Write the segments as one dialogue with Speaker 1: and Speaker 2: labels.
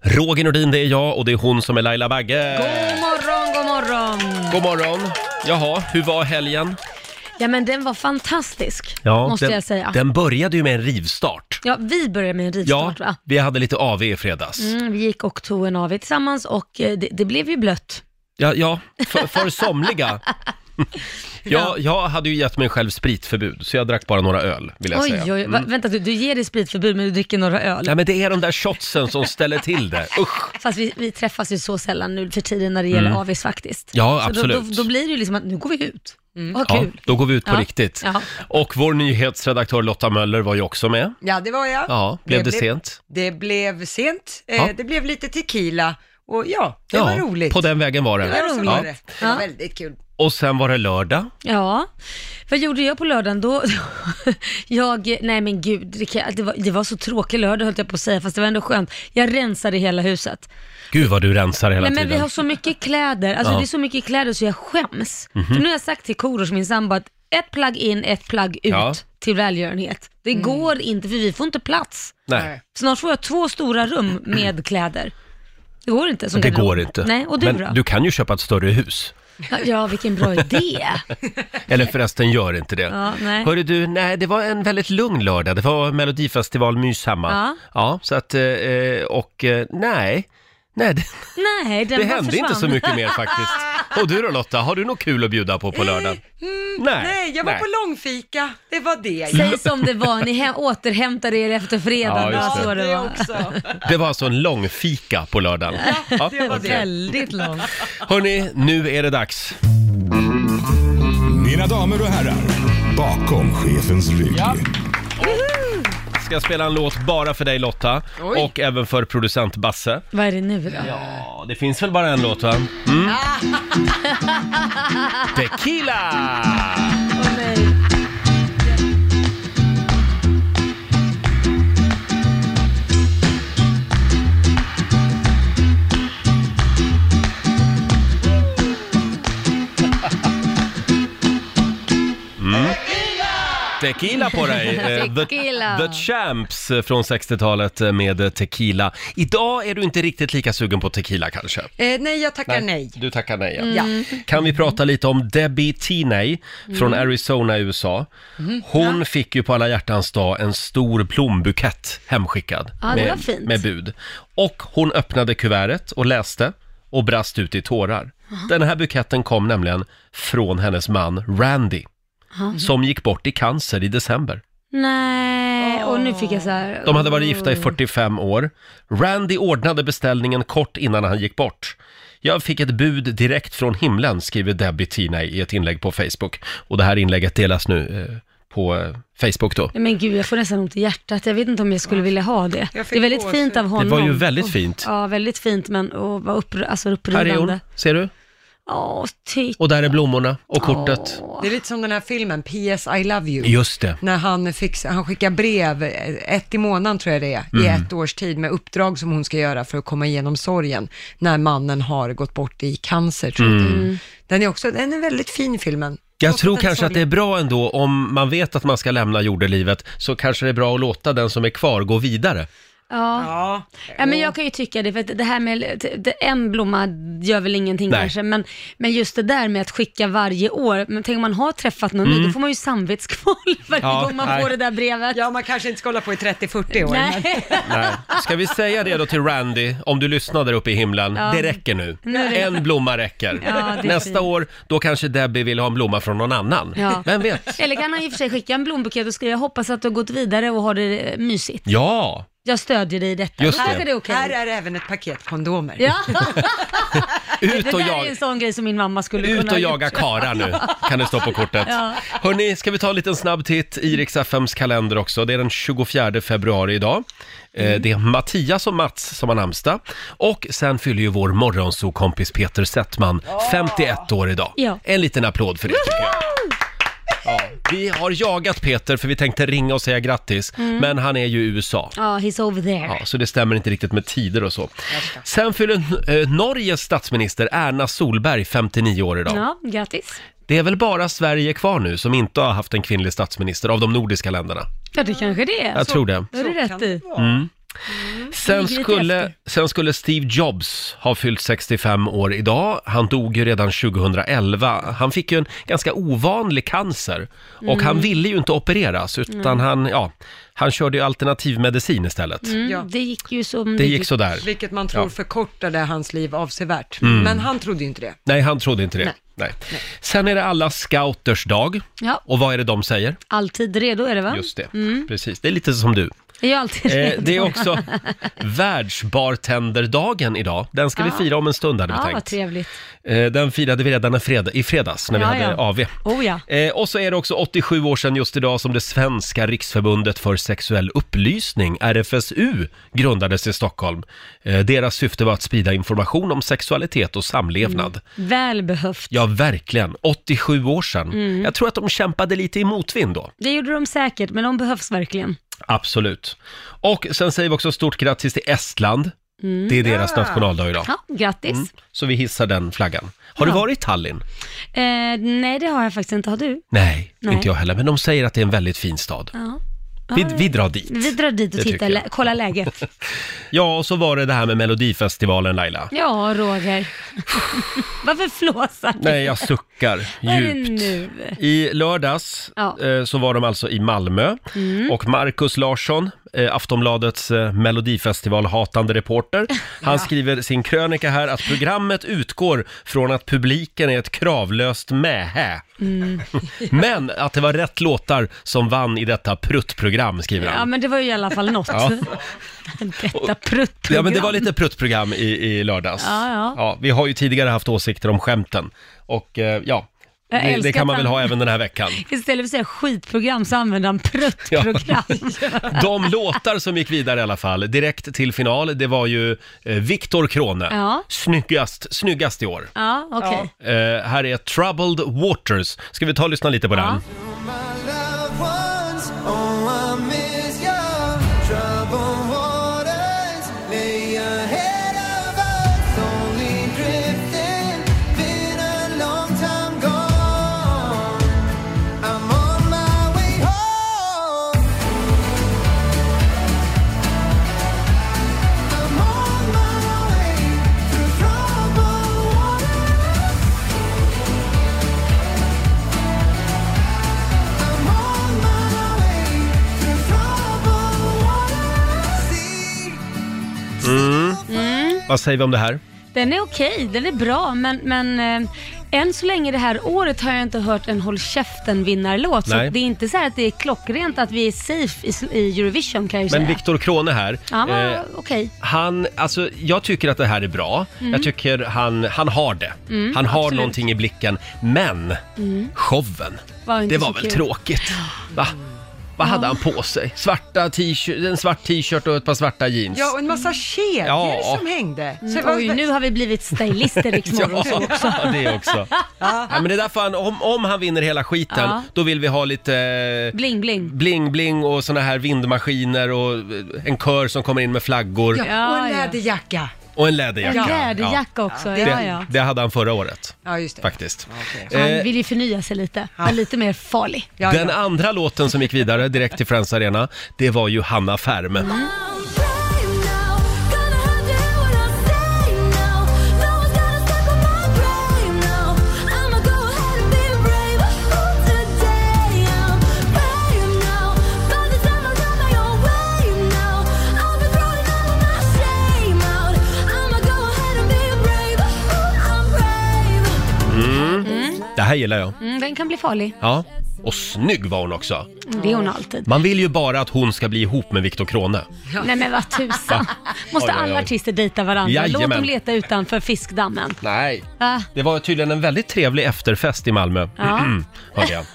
Speaker 1: Roger Nordin, det är jag och det är hon som är Laila Bagge.
Speaker 2: God morgon, god morgon!
Speaker 1: God morgon! Jaha, hur var helgen?
Speaker 2: Ja men den var fantastisk, måste
Speaker 1: den,
Speaker 2: jag säga.
Speaker 1: Den började ju med en rivstart.
Speaker 2: Ja, vi började med en
Speaker 1: Ja,
Speaker 2: rivstart va?
Speaker 1: vi hade lite AV i fredags.
Speaker 2: Mm, vi gick och tog en AW tillsammans och eh, det, det blev ju blött.
Speaker 1: Ja, ja för, för somliga. jag, jag hade ju gett mig själv spritförbud, så jag drack bara några öl, vill jag
Speaker 2: Oj,
Speaker 1: säga. Mm.
Speaker 2: oj, oj. Va- Vänta, du, du ger dig spritförbud men du dricker några öl.
Speaker 1: Nej, men det är de där shotsen som ställer till det. Usch!
Speaker 2: Fast vi, vi träffas ju så sällan nu för tiden när det gäller AWs faktiskt.
Speaker 1: Mm. Ja,
Speaker 2: Så då, då,
Speaker 1: absolut.
Speaker 2: då blir det ju liksom att nu går vi ut. Mm. Vad
Speaker 1: Ja,
Speaker 2: kul.
Speaker 1: då går vi ut på
Speaker 2: Ja.
Speaker 1: riktigt.
Speaker 2: Ja.
Speaker 1: Och vår nyhetsredaktör Lotta Möller var ju också med.
Speaker 3: Ja, det var jag.
Speaker 1: Ja, blev det sent?
Speaker 3: Det blev sent. Eh,
Speaker 1: Ja.
Speaker 3: Det blev lite tequila och ja, det
Speaker 1: ja,
Speaker 3: var roligt.
Speaker 1: På den vägen var det.
Speaker 3: Det var roligt.
Speaker 1: Ja.
Speaker 3: Det var
Speaker 2: Ja.
Speaker 3: väldigt kul.
Speaker 1: Och sen var det lördag.
Speaker 2: Ja, vad gjorde jag på lördagen då? jag, nej men gud, det, kan- det, var, det var så tråkig lördag höll jag på att säga, fast det var ändå skönt. Jag rensade hela huset.
Speaker 1: Gud vad du rensar hela
Speaker 2: Nej men
Speaker 1: tiden.
Speaker 2: vi har så mycket kläder,
Speaker 1: Ja.
Speaker 2: alltså
Speaker 1: Mhm.
Speaker 2: det är så mycket kläder så jag skäms. För nu har jag sagt till Korosh, min sambo, att ett plagg in, ett plagg ut
Speaker 1: Ja. Mm.
Speaker 2: till välgörenhet. Det går inte för vi får inte plats.
Speaker 1: Nej.
Speaker 2: Snart får jag två stora rum med kläder. Det går inte som
Speaker 1: Det
Speaker 2: garderob.
Speaker 1: går inte.
Speaker 2: Nej, och du
Speaker 1: men
Speaker 2: då?
Speaker 1: du kan ju köpa ett större hus.
Speaker 2: Ja, Ja, vilken bra idé.
Speaker 1: Eller förresten, gör inte det.
Speaker 2: Ja, nej.
Speaker 1: Hörru du, nej det var en väldigt lugn lördag. Det var Melodifestivalmys hemma.
Speaker 2: Ja.
Speaker 1: så att, eh, och eh, nej, nej det,
Speaker 2: Nej, den
Speaker 1: det
Speaker 2: bara
Speaker 1: hände inte så
Speaker 2: försvann.
Speaker 1: mycket mer faktiskt. Och du då Lotta, har du något kul att bjuda på på lördag?
Speaker 2: Mm,
Speaker 1: nej,
Speaker 3: Nej, jag var på långfika. Det var det.
Speaker 2: Säg som det var, ni he- återhämtade er efter fredagen.
Speaker 1: Ja, just
Speaker 2: Ja, så det
Speaker 3: det
Speaker 2: var.
Speaker 3: också.
Speaker 1: Det var alltså en lång fika på lördagen. Ja,
Speaker 3: det var
Speaker 1: okej.
Speaker 2: Väldigt långt.
Speaker 1: Hörni, nu är det dags.
Speaker 4: Mina damer och herrar, bakom chefens rygg.
Speaker 1: Ska jag spela en låt bara för dig Lotta
Speaker 3: Oj.
Speaker 1: och även för producent Basse.
Speaker 2: Vad är det nu då?
Speaker 1: Ja, det finns väl bara en låt va? Mm. Tequila!
Speaker 2: Åh, nej.
Speaker 1: Mm. Tequila på dig! Eh,
Speaker 2: Tequila.
Speaker 1: The, the Champs eh, från 60-talet eh, med eh, Tequila. Idag är du inte riktigt lika sugen på tequila kanske?
Speaker 3: Eh, nej, jag tackar nej. Mm.
Speaker 1: Du tackar nej ja.
Speaker 3: Ja.
Speaker 1: Kan vi prata lite om Debbie Teenay
Speaker 3: Mm.
Speaker 1: från Arizona i USA? Hon fick ju på alla hjärtans dag en stor blombukett hemskickad
Speaker 2: Ja, det var
Speaker 1: med,
Speaker 2: fint.
Speaker 1: med bud. Och hon öppnade kuvertet och läste och brast ut i tårar. Den här buketten kom nämligen från hennes man Randy
Speaker 2: Mhm.
Speaker 1: som gick bort i cancer i december.
Speaker 2: Nej, och nu fick jag så här...
Speaker 1: De hade varit gifta i
Speaker 2: Oh.
Speaker 1: 45 år. Randy ordnade beställningen kort innan han gick bort. Jag fick ett bud direkt från himlen, skriver Debbie Tina i ett inlägg på Facebook. Och det här inlägget delas nu eh, på eh, Facebook då.
Speaker 2: Nej, Men gud, jag får nästan ont i hjärtat. Jag vet inte om jag skulle vilja ha det. Det
Speaker 3: Jag fick
Speaker 2: är väldigt
Speaker 3: gåshud.
Speaker 2: fint av honom.
Speaker 1: Det var ju väldigt fint.
Speaker 2: Ja, väldigt fint, men och vad uppr- alltså,
Speaker 1: Här är hon,
Speaker 2: upprivande.
Speaker 1: ser du?
Speaker 2: Ja, typ. titta.
Speaker 1: Och där är blommorna och kortet.
Speaker 3: Det är lite som den här filmen, PS I Love You.
Speaker 1: Just det.
Speaker 3: När han, fix, han skickar brev, eh, ett i månaden tror jag det är, i
Speaker 1: Mm.
Speaker 3: ett års tid med uppdrag som hon ska göra för att komma igenom sorgen när mannen har gått bort i cancer. Tror jag. det är. Den är också, den är väldigt fin filmen.
Speaker 1: Mm. Jag
Speaker 3: Trots
Speaker 1: tror
Speaker 3: den
Speaker 1: kanske att det är
Speaker 3: sorgen-
Speaker 1: bra ändå om man vet att man ska lämna jordelivet så kanske det är bra att låta den som är kvar gå vidare.
Speaker 2: Ja.
Speaker 3: Ja,
Speaker 2: ja, men jag kan ju tycka det, för att det här med det- en blomma gör väl ingenting
Speaker 1: Nej.
Speaker 2: kanske, men, men just det där med att skicka varje år, men tänk om man har träffat någon ny, då får man ju samvetskval varje
Speaker 1: Mm. Ja,
Speaker 2: gång man
Speaker 1: nej.
Speaker 2: får det där brevet.
Speaker 3: ja, man kanske inte ska hålla på i 30-40 år. Men,
Speaker 2: Nej.
Speaker 1: Nej. Ska vi säga det då till Randy, om du lyssnar där uppe i himlen? Det räcker nu. En blomma räcker.
Speaker 2: Ja, det är
Speaker 1: Nästa
Speaker 2: fint.
Speaker 1: år, då kanske Debbie vill ha en blomma från någon annan.
Speaker 2: Ja.
Speaker 1: Vem vet?
Speaker 2: Eller kan han i och för sig skicka en blombukett och skriva, jag hoppas att du har gått vidare och har det eh, mysigt.
Speaker 1: Ja,
Speaker 2: Jag stödjer dig i detta.
Speaker 1: Just
Speaker 2: Då
Speaker 1: det.
Speaker 2: kanske det är okej.
Speaker 3: Här är även ett paket kondomer.
Speaker 2: Ja, det
Speaker 1: ut och,
Speaker 2: där är
Speaker 1: jag,
Speaker 2: en sån grej som min mamma skulle
Speaker 1: ut
Speaker 2: kunna
Speaker 1: och
Speaker 2: ha
Speaker 1: jaga
Speaker 2: gjort.
Speaker 1: kara nu, kan det stå på kortet.
Speaker 2: Ja.
Speaker 1: Hörni, ska vi ta en liten snabb titt i Rix FMs kalender också? Det är den 24 februari idag. Eh, Det är Mattias och Mats som har namnsdag. Och sen fyller ju vår morgonsokompis Peter Settman 51 år idag.
Speaker 2: Ja.
Speaker 1: En liten applåd för det tycker jag. Ja, vi har jagat Peter för vi tänkte ringa och säga grattis, men han är ju i USA.
Speaker 2: Ja, he's over there.
Speaker 1: Ja, så det stämmer inte riktigt med tider och så. Sen fyller eh, Norges statsminister Erna Solberg 59 år idag.
Speaker 2: Ja, grattis.
Speaker 1: Det är väl bara Sverige kvar nu som inte har haft en kvinnlig statsminister av de nordiska länderna.
Speaker 2: Ja, det kanske det är.
Speaker 1: Jag tror det.
Speaker 2: Då är du rätt i. Mm.
Speaker 1: Sen
Speaker 2: ligger lite
Speaker 1: skulle,
Speaker 2: efter.
Speaker 1: sen skulle Steve Jobs ha fyllt 65 år idag. Han dog ju redan 2011. Han fick ju en ganska ovanlig cancer och
Speaker 2: Mm.
Speaker 1: han ville ju inte opereras utan han, ja, han körde ju alternativmedicin istället.
Speaker 2: Mm,
Speaker 3: Ja.
Speaker 2: Det gick ju som
Speaker 1: Det gick sådär.
Speaker 3: Vilket man tror
Speaker 1: Ja. Mm.
Speaker 3: förkortade hans liv avsevärt. Men han trodde ju inte det.
Speaker 1: Nej, han trodde inte det. Nej.
Speaker 3: Nej.
Speaker 1: Sen är det alla scouters dag.
Speaker 2: Ja,
Speaker 1: Och vad är det de säger?
Speaker 2: alltid redo är det va?
Speaker 1: Just det,
Speaker 2: Mm.
Speaker 1: precis. Det är lite som du.
Speaker 2: Är jag alltid
Speaker 1: Eh,
Speaker 2: redo?
Speaker 1: det är också världsbartenderdagen idag. Den ska vi
Speaker 2: Ja.
Speaker 1: fira om en stund hade vi
Speaker 2: Ja, vad
Speaker 1: tänkt.
Speaker 2: trevligt.
Speaker 1: Eh, den firade vi redan i fred- i fredags när vi
Speaker 2: Ja,
Speaker 1: hade
Speaker 2: ja.
Speaker 1: AV.
Speaker 2: Oh ja.
Speaker 1: Eh, och så är det också 87 år sedan just idag som det svenska riksförbundet för sexuell upplysning, RFSU, grundades i Stockholm. Eh, deras syfte var att sprida information om sexualitet och samlevnad.
Speaker 2: Mm. Välbehövt.
Speaker 1: Ja, verkligen. 87 år sedan.
Speaker 2: Mm.
Speaker 1: Jag tror att de kämpade lite i motvind då.
Speaker 2: Det gjorde de säkert, men de behövs verkligen.
Speaker 1: Absolut. Och sen säger vi också stort grattis till Estland. Det är deras nationaldag idag.
Speaker 2: Mm. Ja, grattis.
Speaker 1: Mm. Så vi hissar den flaggan. Har du
Speaker 2: Ja.
Speaker 1: varit i Tallinn?
Speaker 2: Eh, nej, det har jag faktiskt inte. Har du?
Speaker 1: Nej,
Speaker 2: Nej.
Speaker 1: inte jag heller. Men de säger att det är en väldigt fin stad.
Speaker 2: Ja.
Speaker 1: Vi,
Speaker 2: Ja, ja.
Speaker 1: vi drar dit.
Speaker 2: Vi drar dit
Speaker 1: Det
Speaker 2: och tittar,
Speaker 1: tycker jag.
Speaker 2: lä- kollar läget.
Speaker 1: Ja, och så var det det här med Melodifestivalen, Laila.
Speaker 2: Ja, Roger. Varför flåsar du?
Speaker 1: Nej, jag suckar
Speaker 2: Vad är det
Speaker 1: djupt.
Speaker 2: nu?
Speaker 1: I lördags
Speaker 2: Ja. Mm.
Speaker 1: eh, så var de alltså i Malmö och Markus Larsson, eh, Aftonbladets eh, Melodifestival-hatande reporter, han skriver sin krönika här att programmet utgår från att publiken är ett kravlöst mähä.
Speaker 2: Mm.
Speaker 1: Men att det var rätt låtar som vann i detta pruttprogram, skriver
Speaker 2: Ja,
Speaker 1: han.
Speaker 2: men det var ju i alla fall något.
Speaker 1: Ja.
Speaker 2: Detta pruttprogram.
Speaker 1: Ja, men det var lite pruttprogram i, i lördags.
Speaker 2: Ja, ja.
Speaker 1: vi har ju tidigare haft åsikter om skämten och eh, ja,
Speaker 2: Jag
Speaker 1: det, det
Speaker 2: älskar
Speaker 1: kan man
Speaker 2: att
Speaker 1: väl
Speaker 2: han-
Speaker 1: ha även den här veckan.
Speaker 2: Istället för att säga skitprogram så använder han pruttprogram.
Speaker 1: De låtar som gick vidare i alla fall, direkt till final, det var ju eh, Viktor Krone.
Speaker 2: Ja.
Speaker 1: Snyggast, snyggast i år.
Speaker 2: Ja, okej.
Speaker 1: Eh, här är Troubled Waters. Ska vi ta och lyssna lite på den?
Speaker 5: My loved ones, oh, I miss your troubled waters. Lay ahead of us, only drifting. Been a long time gone. I'm on my way home. I'm on my way through troubled waters. I'm on my way through troubled waters. See
Speaker 1: Mm. Vad säger vi om det här?
Speaker 2: Mm. Den är okej, den är bra, men, men eh, än så länge det här året har jag inte hört en håll käften-vinnarlåt. Så
Speaker 1: Nej.
Speaker 2: att det är inte så här att det är klockrent att vi är safe i, i Eurovision kan jag ju
Speaker 1: Men
Speaker 2: säga.
Speaker 1: Viktor Krone här.
Speaker 2: ja, men,
Speaker 1: eh,
Speaker 2: okej.
Speaker 1: han, alltså, jag tycker att det här är bra. Jag tycker han, han har det. han har
Speaker 2: Mm. absolut. Mm.
Speaker 1: någonting i blicken. Men showen,
Speaker 2: Var inte
Speaker 1: det var
Speaker 2: så
Speaker 1: väl
Speaker 2: kul.
Speaker 1: tråkigt? Va? Vad hade han på sig? Svarta t-shirt, en svart t-shirt och ett par svarta jeans.
Speaker 3: Ja, och en massa kedjor
Speaker 1: Ja.
Speaker 3: som hängde. Så det var-
Speaker 2: Mm. Oj, nu har vi blivit stylister i
Speaker 1: Ja,
Speaker 2: Riksmorgon också.
Speaker 1: det också. Ja. men det är därför han, om, om han vinner hela skiten,
Speaker 2: Ja.
Speaker 1: då vill vi ha lite eh,
Speaker 2: Bling, bling.
Speaker 1: bling-bling och såna här vindmaskiner och eh, en kör som kommer in med flaggor
Speaker 3: Ja,
Speaker 2: Ja,
Speaker 3: och en
Speaker 2: ja.
Speaker 3: läderjacka.
Speaker 1: och en läderjacka.
Speaker 2: En läderjacka också, ja. ja,
Speaker 1: Det, det hade han förra året,
Speaker 3: Ja, just det.
Speaker 1: faktiskt.
Speaker 2: Han
Speaker 1: Eh,
Speaker 2: vill ju förnya sig lite, vara lite mer farlig.
Speaker 3: Ja,
Speaker 1: Den
Speaker 3: ja.
Speaker 1: andra låten som gick vidare direkt till Friends Arena, det var ju Hanna Färm.
Speaker 2: Mm.
Speaker 5: I'm brave now, gonna do what I say now. No one's gonna step on my grave now. I'ma go ahead and be brave Oh, today. I'm brave now. By the time I got my own way now, I'll be throwing all of my shame out. I'ma go ahead and be brave. I'm brave.
Speaker 1: Det här gillar jag.
Speaker 2: Mm, den kan bli farlig.
Speaker 1: Ja. Och snygg var hon också.
Speaker 2: Det är hon alltid.
Speaker 1: Man vill ju bara att hon ska bli ihop med Viktor Krone.
Speaker 2: Nej men vad tusan. Måste
Speaker 1: Oj, oj,
Speaker 2: alla
Speaker 1: oj.
Speaker 2: artister dejta varandra? Låt
Speaker 1: Jajamän.
Speaker 2: dem leta utanför fiskdammen.
Speaker 1: Nej.
Speaker 2: Va?
Speaker 1: Det var tydligen en väldigt trevlig efterfest i Malmö. Mm, Hörde jag.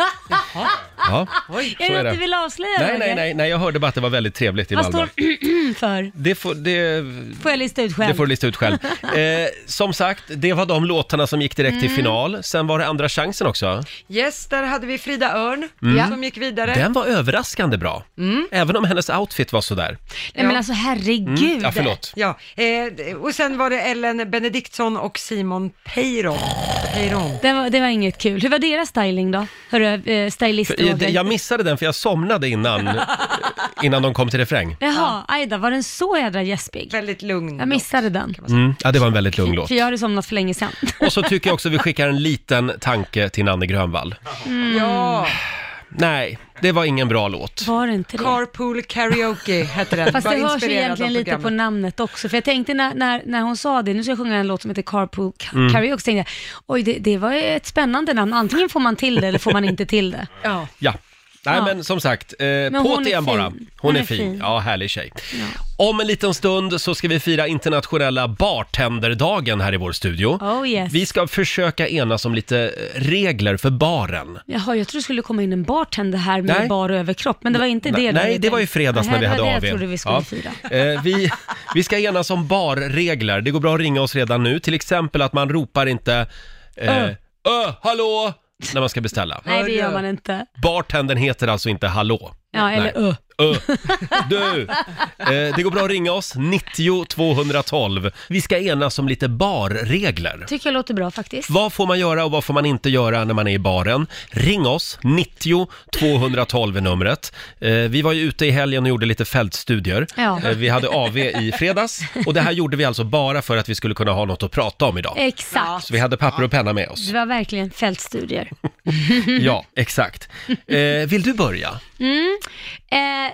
Speaker 1: Ja.
Speaker 2: är
Speaker 1: så
Speaker 2: det
Speaker 1: är
Speaker 2: att
Speaker 1: det.
Speaker 2: du vill avslöja
Speaker 1: Nej,
Speaker 2: Roger?
Speaker 1: nej, nej, nej, jag hörde bara att det var väldigt trevligt i
Speaker 2: Vad
Speaker 1: Malmö.
Speaker 2: står för?
Speaker 1: Det får, det,
Speaker 2: Får jag lista ut själv?
Speaker 1: det får du lista ut själv. Eh, som sagt, det var de låtarna som gick direkt till
Speaker 2: Mm.
Speaker 1: final. Sen var det Andra chansen också.
Speaker 3: Yes, där hade vi Frida Örn som gick vidare.
Speaker 1: Mm. Den var överraskande bra. Även om hennes outfit var sådär.
Speaker 2: Mm. Nej men alltså herregud.
Speaker 1: Mm. Ja, förlåt.
Speaker 3: Ja, eh, och sen var det Ellen Benediktsson och Simon Peyron. Peyron.
Speaker 2: Det var, det var inget kul. Hur var deras styling då? Hörru, eh, stylist
Speaker 1: I det,
Speaker 2: okej.
Speaker 1: jag missade den för jag somnade innan, innan de kom till refräng.
Speaker 2: Jaha, aj då, var den så jädra gäspig?
Speaker 3: Väldigt lugn.
Speaker 2: Jag missade den.
Speaker 1: Mm, ja, det var en väldigt lugn låt.
Speaker 2: För jag hade somnat för länge sedan.
Speaker 1: Och så tycker jag också vi skickar en liten tanke till Nanne Grönvall.
Speaker 2: Mm.
Speaker 3: Ja,
Speaker 1: Nej, det var ingen bra låt.
Speaker 2: Var det inte det?
Speaker 3: Carpool Karaoke hette den.
Speaker 2: Fast
Speaker 3: Var
Speaker 2: det hörs ju
Speaker 3: inspirerad av
Speaker 2: egentligen lite på
Speaker 3: programmet.
Speaker 2: namnet också. För jag tänkte när, när, när hon sa det, nu ska jag sjunga en låt som heter Carpool Ca-
Speaker 1: Mm.
Speaker 2: Karaoke, så tänkte jag, oj det, det var ju ett spännande namn. Antingen får man till det eller får man inte till det.
Speaker 3: Ja.
Speaker 1: Ja. Nej
Speaker 2: Ja.
Speaker 1: men som sagt, eh,
Speaker 2: hon
Speaker 1: på't
Speaker 2: är
Speaker 1: igen bara. Hon,
Speaker 2: fin. Hon
Speaker 1: är,
Speaker 2: är
Speaker 1: fin.
Speaker 2: fin.
Speaker 1: Ja, härlig tjej. Om en liten stund så ska vi fira internationella bartenderdagen här i vår studio.
Speaker 2: Oh yes.
Speaker 1: Vi ska försöka enas om lite eh, regler för baren.
Speaker 2: Jaha, jag trodde det skulle komma in en bartender här med
Speaker 1: Nej.
Speaker 2: bar och överkropp, men det var inte det.
Speaker 1: Nej,
Speaker 2: då
Speaker 1: nej,
Speaker 2: vi
Speaker 1: det var i
Speaker 2: tänkte.
Speaker 1: fredags när
Speaker 2: Nej,
Speaker 1: vi
Speaker 2: det
Speaker 1: hade
Speaker 2: var det
Speaker 1: AW.
Speaker 2: jag trodde vi skulle fira.
Speaker 1: Eh, vi, vi ska enas om barregler. Det går bra att ringa oss redan nu. Till exempel att man ropar inte eh,
Speaker 2: Ö.
Speaker 1: Ö, hallå! När man ska beställa.
Speaker 2: Nej, det gör man inte.
Speaker 1: Bartendern heter alltså inte hallå.
Speaker 2: Ja, eller
Speaker 1: Nej.
Speaker 2: öh.
Speaker 1: Ö. Du! Eh, det går bra att ringa oss, 90 212. Vi ska enas om lite barregler.
Speaker 2: Tycker jag låter bra faktiskt.
Speaker 1: Vad får man göra och vad får man inte göra när man är i baren? Ring oss, 90 212 är numret. Eh, vi var ju ute i helgen och gjorde lite fältstudier.
Speaker 2: Ja.
Speaker 1: Eh, vi hade AV i fredags och det här gjorde vi alltså bara för att vi skulle kunna ha något att prata om idag.
Speaker 2: Exakt.
Speaker 1: Så vi hade papper och penna med oss.
Speaker 2: Det var verkligen fältstudier.
Speaker 1: Ja, exakt. Eh, vill du börja?
Speaker 2: Eh,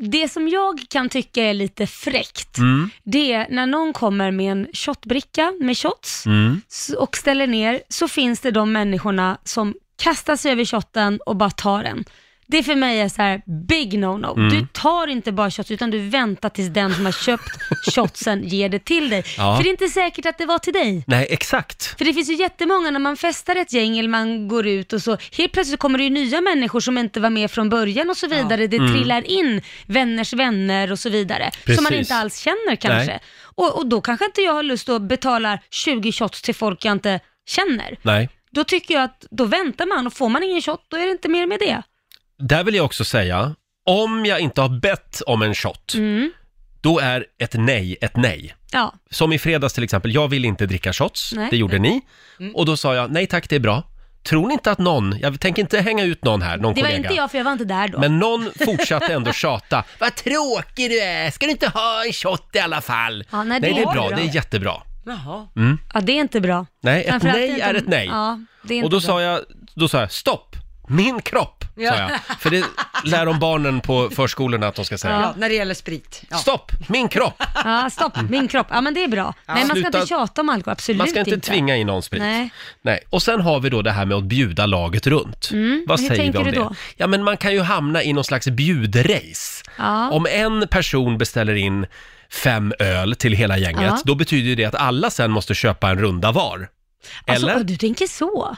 Speaker 2: det som jag kan tycka är lite fräckt,
Speaker 1: Mm.
Speaker 2: det är när någon kommer med en shotbricka med shots
Speaker 5: Mm.
Speaker 1: Mm.
Speaker 2: s- och ställer ner, så finns det de människorna som kastar sig över shotten och bara tar den. Det för mig är så här big no-no. Du tar inte bara shots utan du väntar tills den som har köpt shotsen ger det till dig.
Speaker 1: Ja.
Speaker 2: För det är inte säkert att det var till dig.
Speaker 1: Nej, exakt.
Speaker 2: För det finns ju jättemånga när man festar ett gäng eller man går ut och så helt plötsligt kommer det ju nya människor som inte var med från början och så vidare. Det
Speaker 1: Mm.
Speaker 2: trillar in vänners vänner och så vidare. Som man
Speaker 1: Precis.
Speaker 2: inte alls känner kanske.
Speaker 1: Nej.
Speaker 2: Och, och då kanske inte jag har lust att betala 20 shots till folk jag inte känner.
Speaker 1: Nej.
Speaker 2: Då tycker jag att då väntar man och får man ingen shot då är det inte mer med det.
Speaker 1: Där vill jag också säga, om jag inte har bett om en shot, då är ett nej ett nej.
Speaker 2: Ja,
Speaker 1: Som i fredags till exempel, jag vill inte dricka shots,
Speaker 2: Nej. Mm.
Speaker 1: det gjorde ni. Och då sa jag, nej tack det är bra. Tror ni inte att någon, jag tänker inte hänga ut någon här, någon
Speaker 2: det var
Speaker 1: kollega.
Speaker 2: inte jag för jag var inte där då.
Speaker 1: Men någon fortsatte ändå tjata. Vad tråkig du är, ska du inte ha en shot i alla fall?
Speaker 2: Ja, nej,
Speaker 1: det är
Speaker 2: var
Speaker 1: bra,
Speaker 2: bra.
Speaker 1: det är jättebra. Mm.
Speaker 3: Jaha.
Speaker 2: Ja, det är inte bra.
Speaker 1: Nej, ett
Speaker 2: Framförallt
Speaker 1: nej
Speaker 2: inte-
Speaker 1: är ett nej.
Speaker 2: Ja, det är inte
Speaker 1: Och då
Speaker 2: bra.
Speaker 1: sa jag, då sa jag stopp, min kropp, sa
Speaker 3: Ja.
Speaker 1: jag. För det lär de barnen på förskolorna att de ska säga.
Speaker 3: Ja, när det gäller sprit. Ja.
Speaker 1: Stopp, min kropp!
Speaker 2: Ja, stopp, min kropp. Ja, men det är bra. Nej, man ska
Speaker 1: Sluta-
Speaker 2: inte tjata om alkohol, absolut
Speaker 1: Man ska inte tvinga in någon sprit.
Speaker 2: Nej.
Speaker 1: Nej. Och sen har vi då det här med att bjuda laget runt. Vad
Speaker 2: Mm. hur
Speaker 1: säger vi
Speaker 2: tänker
Speaker 1: om
Speaker 2: du
Speaker 1: det?
Speaker 2: då?
Speaker 1: Ja, men man kan ju hamna i någon slags bjudrace.
Speaker 2: Ja.
Speaker 1: Om en person beställer in fem öl till hela gänget,
Speaker 2: Ja.
Speaker 1: då betyder ju det att alla sen måste köpa en runda var.
Speaker 2: Alltså,
Speaker 1: Eller?
Speaker 2: åh, du tänker så?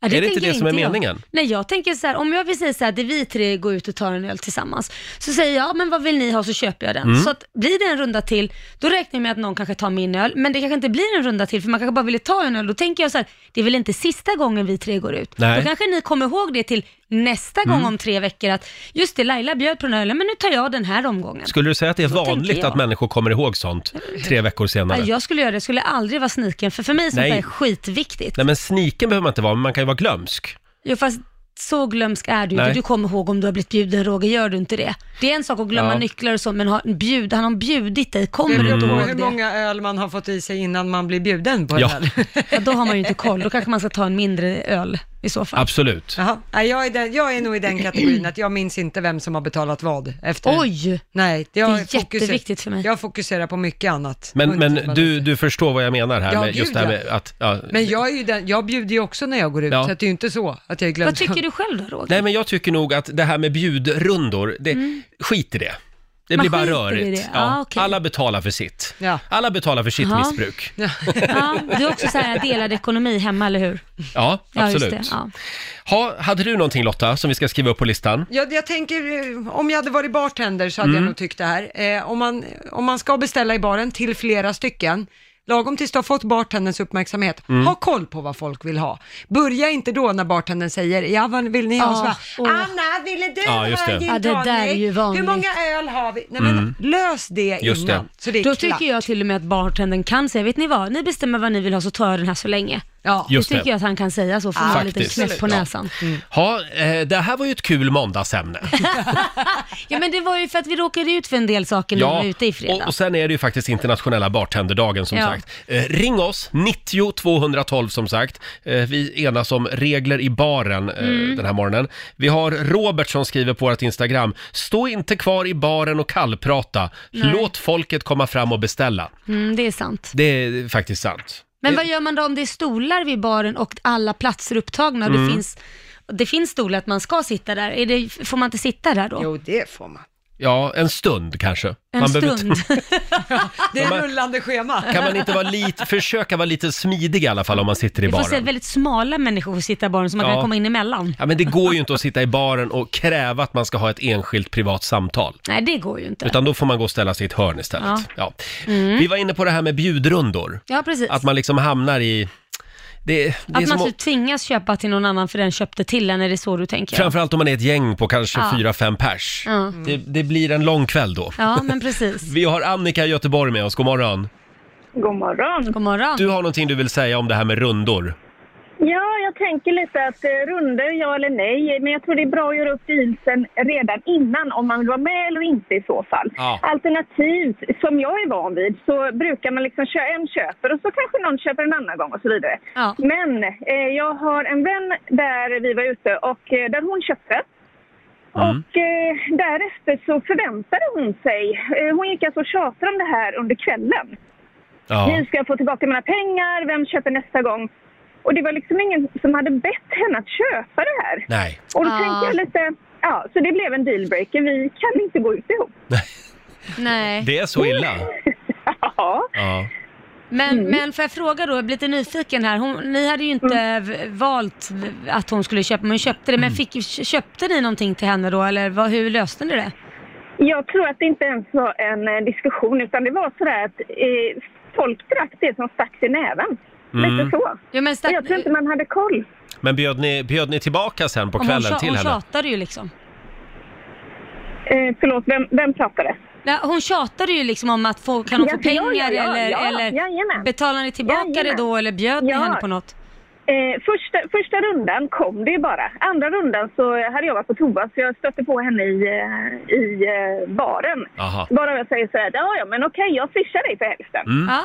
Speaker 2: Ja,
Speaker 1: Är det inte
Speaker 2: tänker
Speaker 1: det som är
Speaker 2: jag.
Speaker 1: meningen?
Speaker 2: Nej, jag tänker så här, om jag vill säga så här, det är vi tre går ut och tar en öl tillsammans, så säger jag, men vad vill ni ha så köper jag den.
Speaker 1: Mm.
Speaker 2: Så att, blir det en runda till, då räknar jag med att någon kanske tar min öl, men det kanske inte blir en runda till, för man kanske bara ville ta en öl. Då tänker jag så här, det är väl inte sista gången vi tre går ut?
Speaker 1: Nej. Mm.
Speaker 2: Då kanske ni kommer ihåg det till nästa gång om tre veckor, att just det, Laila bjöd på den här ölen, men nu tar jag den här omgången.
Speaker 1: Skulle du säga att det är
Speaker 2: tänker
Speaker 1: vanligt
Speaker 2: jag.
Speaker 1: att människor kommer ihåg sånt tre veckor senare?
Speaker 2: Ja, jag skulle göra det, jag skulle aldrig vara sniken, för för mig sånt
Speaker 1: Nej.
Speaker 2: där är skitviktigt.
Speaker 1: Nej, men sniken behöver man inte vara, men man kan ju vara glömsk.
Speaker 2: Jo fast så glömsk är du inte.
Speaker 1: Nej.
Speaker 2: Du kommer ihåg om du har blivit bjuden Roger, gör du inte det? Det är en sak att glömma
Speaker 1: Ja. Mm.
Speaker 2: nycklar och så, men har, en bjud, han har bjudit dig, kommer
Speaker 3: Det
Speaker 2: du
Speaker 3: beror
Speaker 2: inte
Speaker 3: på
Speaker 2: ihåg
Speaker 3: Mm. hur
Speaker 2: det?
Speaker 3: många öl man har fått i sig innan man blir bjuden på en
Speaker 1: Ja.
Speaker 3: öl.
Speaker 2: Ja, då har man ju inte koll, då kanske man ska ta en mindre öl i så fall.
Speaker 1: Absolut.
Speaker 3: Jaha. Nej, jag, är den, jag är nog i den kategorin att jag minns inte vem som har betalat vad efter.
Speaker 2: Oj!
Speaker 3: Nej, jag
Speaker 2: Det är jätteviktigt för mig.
Speaker 3: Jag fokuserar på mycket annat.
Speaker 1: Men,
Speaker 3: Och inte
Speaker 1: men
Speaker 3: bara
Speaker 1: du,
Speaker 3: det.
Speaker 1: du förstår vad jag menar här
Speaker 3: Ja,
Speaker 1: med just
Speaker 3: gud,
Speaker 1: det här
Speaker 3: ja.
Speaker 1: med att... Ja,
Speaker 3: Men jag, är ju den, jag bjuder ju också när jag går ut,
Speaker 1: Ja.
Speaker 3: så att det är ju inte så att jag är glömd.
Speaker 2: Vad tycker du själv då Roger?
Speaker 1: Nej, men jag tycker nog att det här med bjudrundor, det, skit i det. Det
Speaker 2: Mm.
Speaker 1: blir
Speaker 2: Man
Speaker 1: bara
Speaker 2: skiter i
Speaker 1: rörigt.
Speaker 2: det. Ah, okej.
Speaker 1: Alla betalar för sitt.
Speaker 3: Ja.
Speaker 1: Alla betalar för sitt
Speaker 2: Ja.
Speaker 1: missbruk.
Speaker 2: Ja, du är också så här delad ekonomi hemma, eller hur?
Speaker 1: Ja,
Speaker 2: Ja, just
Speaker 1: absolut.
Speaker 2: det. Ja.
Speaker 1: Ha, hade du någonting Lotta som vi ska skriva upp på listan?
Speaker 3: Jag, jag tänker, eh, om jag hade varit bartender så hade
Speaker 1: Mm.
Speaker 3: jag nog tyckt det här. Eh, om, man, om man ska beställa i baren till flera stycken, lagom tills du har fått bartenderns uppmärksamhet,
Speaker 1: Mm.
Speaker 3: ha koll på vad folk vill ha. Börja inte då när bartendern säger, ja vad vill ni ha?
Speaker 2: Ah,
Speaker 3: så bara,
Speaker 2: åh.
Speaker 3: Anna, ville du
Speaker 1: Ja, just
Speaker 3: ha
Speaker 1: det. Mm.
Speaker 3: en gin
Speaker 2: Ja, det där
Speaker 3: tonic?
Speaker 2: är ju vanligt.
Speaker 3: Hur många öl har vi? Nej, men lös det
Speaker 1: Just
Speaker 3: innan,
Speaker 1: det.
Speaker 3: så det är
Speaker 2: Då
Speaker 3: klart.
Speaker 2: tycker jag till och med att bartendern kan säga, vet ni vad, ni bestämmer vad ni vill ha så tar jag den här så länge.
Speaker 3: Ja.
Speaker 1: Just
Speaker 2: det tycker
Speaker 1: det.
Speaker 2: jag att han kan säga så, för man är lite
Speaker 1: Faktiskt.
Speaker 2: knäpp på
Speaker 1: Ja.
Speaker 2: näsan.
Speaker 1: Ha, eh, det här var ju ett kul måndagsämne.
Speaker 2: Ja men det var ju för att vi råkade ut för en del saker när vi var ute i fredags.
Speaker 1: och, och sen är det ju faktiskt internationella bartenderdagen som
Speaker 2: Ja.
Speaker 1: sagt. Eh, ring oss, 90 212 som sagt. Eh, vi enas om regler i baren eh,
Speaker 2: Mm.
Speaker 1: den här morgonen. Vi har Robert som skriver på vårt Instagram, stå inte kvar i baren och kallprata. Låt folket komma fram och beställa.
Speaker 2: Mm, det är sant.
Speaker 1: Det är faktiskt sant. Eh,
Speaker 2: Men vad gör man då om det är stolar vid baren och alla platser upptagna? och
Speaker 1: Mm.
Speaker 2: Det, finns, det finns stolar att man ska sitta där. Är det, får man inte sitta där då?
Speaker 3: Jo, det får man.
Speaker 1: Ja, en stund kanske.
Speaker 2: En
Speaker 1: Man behöver
Speaker 2: stund.
Speaker 3: Det är
Speaker 1: Men-
Speaker 3: rullande schema.
Speaker 1: Kan man inte vara lite, försöka vara lite smidig i alla fall om man sitter i
Speaker 2: Vi får se
Speaker 1: baren?
Speaker 2: väldigt smala människor får sitta i baren så man
Speaker 1: Ja.
Speaker 2: kan komma in emellan.
Speaker 1: Ja, men det går ju inte att sitta i baren och kräva att man ska ha ett enskilt privat samtal.
Speaker 2: Nej, det går ju inte.
Speaker 1: Utan då får man gå och ställa sig i ett hörn istället. Ja. Vi var inne på det här med bjudrundor.
Speaker 2: Ja, Mm. precis.
Speaker 1: Att man liksom hamnar i... Det, det är
Speaker 2: Att
Speaker 1: som
Speaker 2: man
Speaker 1: att-
Speaker 2: typ tvingas köpa till någon annan för den köpte till en, är det så du tänker?
Speaker 1: Framförallt om man är ett gäng på kanske
Speaker 2: Ja.
Speaker 1: fyra, fem pers.
Speaker 2: Ja.
Speaker 1: Det, det blir en lång kväll då.
Speaker 2: Ja, men precis.
Speaker 1: Vi har Annika i Göteborg med oss, god morgon.
Speaker 6: God morgon.
Speaker 2: God morgon.
Speaker 1: Du har någonting du vill säga om det här med rundor.
Speaker 6: Ja, jag tänker lite att eh, runder, ja eller nej. Men jag tror det är bra att göra upp dealsen redan innan om man vill vara med eller inte i så fall.
Speaker 1: Ja.
Speaker 6: Alternativt, som jag är van vid, så brukar man liksom köra en köper och så kanske någon köper en annan gång och så vidare.
Speaker 2: Ja.
Speaker 6: Men eh, jag har en vän där vi var ute och eh, där hon köpte.
Speaker 7: Mm.
Speaker 6: Och eh, därefter så förväntade hon sig, eh, hon gick alltså och tjatade om det här under kvällen.
Speaker 1: Ja.
Speaker 6: Nu ska jag få tillbaka mina pengar, vem köper nästa gång? Och det var liksom ingen som hade bett henne att köpa det här.
Speaker 1: Nej.
Speaker 6: Och då
Speaker 2: Ah.
Speaker 6: tänkte jag lite, ja, så det blev en dealbreaker. Vi kan inte gå ut ihop.
Speaker 2: Nej,
Speaker 1: Det är så illa.
Speaker 6: Ja,
Speaker 1: Ja.
Speaker 2: men,
Speaker 6: Mm.
Speaker 2: men får jag fråga då, jag blir lite nyfiken här. Hon, ni hade ju inte
Speaker 6: Mm.
Speaker 2: v- valt v- att hon skulle köpa, men hon köpte
Speaker 1: Mm.
Speaker 2: det. Men fick, köpte ni någonting till henne då, eller vad, hur löste ni det?
Speaker 6: jag tror att det inte ens var en eh, diskussion, utan det var sådär att eh, folk drack det som stack i näven. Lite så.
Speaker 2: Jo, men stack,
Speaker 6: Jag tror inte man hade koll.
Speaker 1: Mm. Men bjöd ni, bjöd ni tillbaka sen på
Speaker 2: om hon,
Speaker 1: kvällen
Speaker 2: tja-
Speaker 1: till
Speaker 2: hon
Speaker 1: henne?
Speaker 2: tjatade ju liksom.
Speaker 6: Eh, förlåt, vem, vem pratade?
Speaker 2: Nej, hon tjatade ju liksom om att få, kan hon få
Speaker 6: Ja, ja,
Speaker 2: pengar
Speaker 6: ja, ja,
Speaker 2: eller,
Speaker 6: ja,
Speaker 2: eller
Speaker 6: jajamän.
Speaker 2: betalar ni tillbaka det
Speaker 6: Jajamän.
Speaker 2: då eller bjöd ni
Speaker 6: Ja.
Speaker 2: henne på något?
Speaker 6: Eh, första, första rundan kom det ju bara. Andra rundan så hade jag varit på toa så jag stötte på henne i, eh, i eh, baren.
Speaker 1: Aha. Mm.
Speaker 6: Bara jag säger så här, ja ja men okej jag swishar dig för hälften.
Speaker 2: Ja.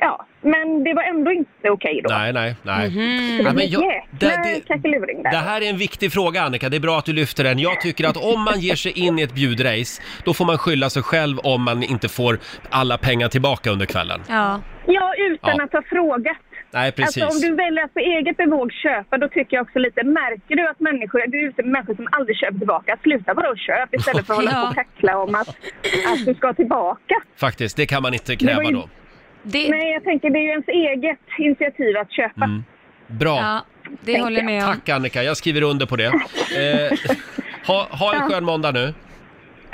Speaker 6: Ja, men det var ändå inte okej då.
Speaker 1: Nej, nej, nej.
Speaker 2: Mhm.
Speaker 6: Så
Speaker 1: Ja,
Speaker 6: det
Speaker 1: men
Speaker 6: blev
Speaker 1: jag-
Speaker 6: jäkla
Speaker 1: det- det-
Speaker 6: kackeluring där.
Speaker 1: Det här är en viktig fråga Annika, det är bra att du lyfter den. Jag tycker att om man ger sig in i ett bjudrace, då får man skylla sig själv om man inte får alla pengar tillbaka under kvällen.
Speaker 2: ja.
Speaker 6: Ja, utan
Speaker 1: Ja.
Speaker 6: att ha frågat.
Speaker 1: Nej, precis.
Speaker 6: Alltså om du väljer att på eget bevåg köpa, då tycker jag också lite, märker du att människor, du är ute med människor som aldrig köper tillbaka, sluta bara och köp istället för att hålla på och
Speaker 2: Ja.
Speaker 6: kackla om att, att du ska tillbaka.
Speaker 1: Faktiskt, det kan man inte
Speaker 6: Det
Speaker 1: kräva
Speaker 6: var ju-
Speaker 1: då.
Speaker 2: Det, Mm.
Speaker 6: Nej, jag tänker det är ju ens eget initiativ att köpa.
Speaker 1: Bra.
Speaker 2: ja, det håller jag med om.
Speaker 1: Tack Annika, jag skriver under på det. Eh, ha, ha en skön måndag nu.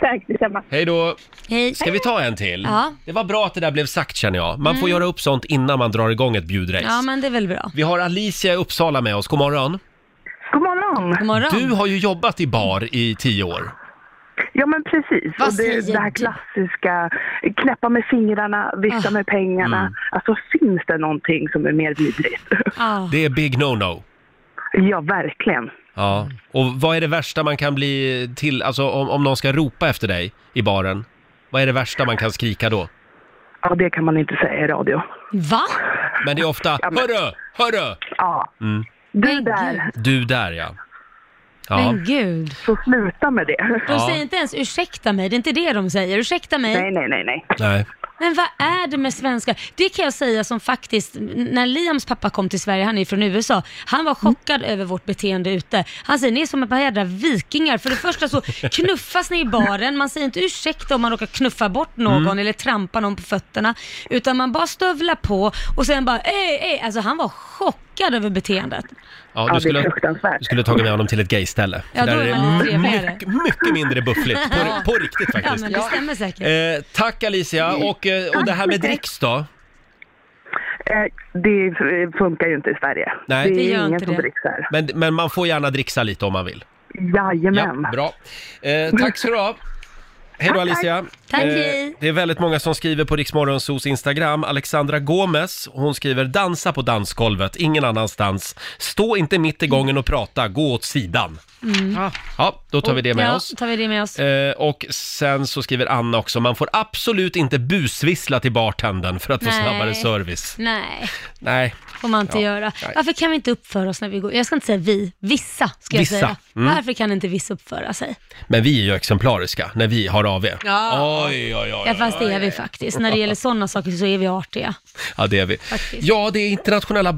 Speaker 6: Tack detsamma.
Speaker 1: Hej då.
Speaker 2: Hej.
Speaker 1: Ska vi ta en till?
Speaker 2: Ja. Mm.
Speaker 1: Det var bra att det där blev sagt känner jag. Man får göra upp sånt innan man drar igång ett bjudrace.
Speaker 2: Ja men det är väl bra.
Speaker 1: Vi har Alicia i Uppsala med oss, god morgon.
Speaker 8: God morgon!
Speaker 2: God morgon.
Speaker 1: Du har ju jobbat i bar i tio år.
Speaker 8: Ja men precis.
Speaker 2: Vad
Speaker 8: och det,
Speaker 2: säger
Speaker 8: det här
Speaker 2: du?
Speaker 8: klassiska, knäppa med fingrarna, vifta
Speaker 2: Ah.
Speaker 8: med pengarna. Alltså finns det någonting som är mer vidrigt?
Speaker 2: Ja.
Speaker 1: Det är big no-no.
Speaker 8: ja, verkligen.
Speaker 1: Ja, och vad är det värsta man kan bli till, alltså om, om någon ska ropa efter dig i baren, vad är det värsta man kan skrika då?
Speaker 8: Ja, det kan man inte säga i radio.
Speaker 2: Va?
Speaker 1: Men det är ofta,
Speaker 8: men-
Speaker 1: hörru, hörru! Mm.
Speaker 8: Ja. Du
Speaker 2: Men
Speaker 8: där,
Speaker 1: Du där ja. Ja,
Speaker 2: Men gud.
Speaker 8: så sluta med det.
Speaker 2: De
Speaker 1: Ja.
Speaker 2: säger inte ens ursäkta mig, det är inte det de säger. Ursäkta mig.
Speaker 8: Nej, nej, nej, nej.
Speaker 1: nej.
Speaker 2: Men vad är det med svenskar? Det kan jag säga som faktiskt, när Liams pappa kom till Sverige, han är från USA, han var
Speaker 1: Mm.
Speaker 2: chockad över vårt beteende ute. Han säger, ni är som ett par jädra vikingar. För det första så knuffas ni i baren, man säger inte ursäkta om man råkar knuffa bort någon
Speaker 1: Mm.
Speaker 2: eller trampa någon på fötterna, utan man bara stövlar på och sen bara, ej, ej. Alltså han var chockad över beteendet.
Speaker 1: Ja,
Speaker 8: Ja,
Speaker 1: du
Speaker 8: det
Speaker 1: skulle,
Speaker 8: är fruktansvärt.
Speaker 1: du skulle tagit med honom till ett gayställe.
Speaker 2: Ja, då
Speaker 1: Där
Speaker 2: är man lite trevligare.
Speaker 1: mycket, mycket mindre buffligt, på, på riktigt
Speaker 2: Ja,
Speaker 1: faktiskt.
Speaker 2: men det stämmer säkert.
Speaker 1: Eh, tack Alicia,
Speaker 8: Mm.
Speaker 1: och, eh, och det här med dricks då?
Speaker 8: Eh, Det eh, funkar ju inte i Sverige.
Speaker 1: Nej.
Speaker 8: Det
Speaker 2: Det
Speaker 8: är
Speaker 2: gör
Speaker 8: ingen
Speaker 2: inte
Speaker 8: som
Speaker 2: det.
Speaker 8: dricks här.
Speaker 1: Men, men man får gärna dricksa lite om man vill.
Speaker 8: Jajamän.
Speaker 1: Ja, bra. Eh, tack så du ha. Hej då
Speaker 8: Tack,
Speaker 1: Alicia.
Speaker 2: Mm. Tack,
Speaker 1: Eh,
Speaker 2: hej.
Speaker 1: Det är väldigt många som skriver på Riksmorgonsos Instagram. Alexandra Gomez, hon skriver dansa på dansgolvet, ingen annanstans. Stå inte mitt i gången och prata, gå åt sidan.
Speaker 3: Ja.
Speaker 1: Ja, då tar vi det med
Speaker 2: ja,
Speaker 1: oss.
Speaker 2: tar vi det med oss.
Speaker 1: Eh, och sen så skriver Anna också, man får absolut inte busvissla till bartendern för att få
Speaker 2: Nej.
Speaker 1: snabbare service.
Speaker 2: Nej,
Speaker 1: Nej,
Speaker 2: får man inte
Speaker 1: Ja,
Speaker 2: göra.
Speaker 1: nej.
Speaker 2: Varför kan vi inte uppföra oss när vi går? Jag ska inte säga vi, vissa ska jag
Speaker 1: Vissa,
Speaker 2: säga.
Speaker 1: mm.
Speaker 2: Varför kan inte vissa uppföra sig?
Speaker 1: men vi är ju exemplariska när vi har AW.
Speaker 3: Ja.
Speaker 1: Oj, oj, oj.
Speaker 2: Ja, fast det är vi faktiskt. När det gäller sådana saker så är vi artiga.
Speaker 1: Ja, det är vi.
Speaker 2: Faktiskt.
Speaker 1: Ja, det är internationella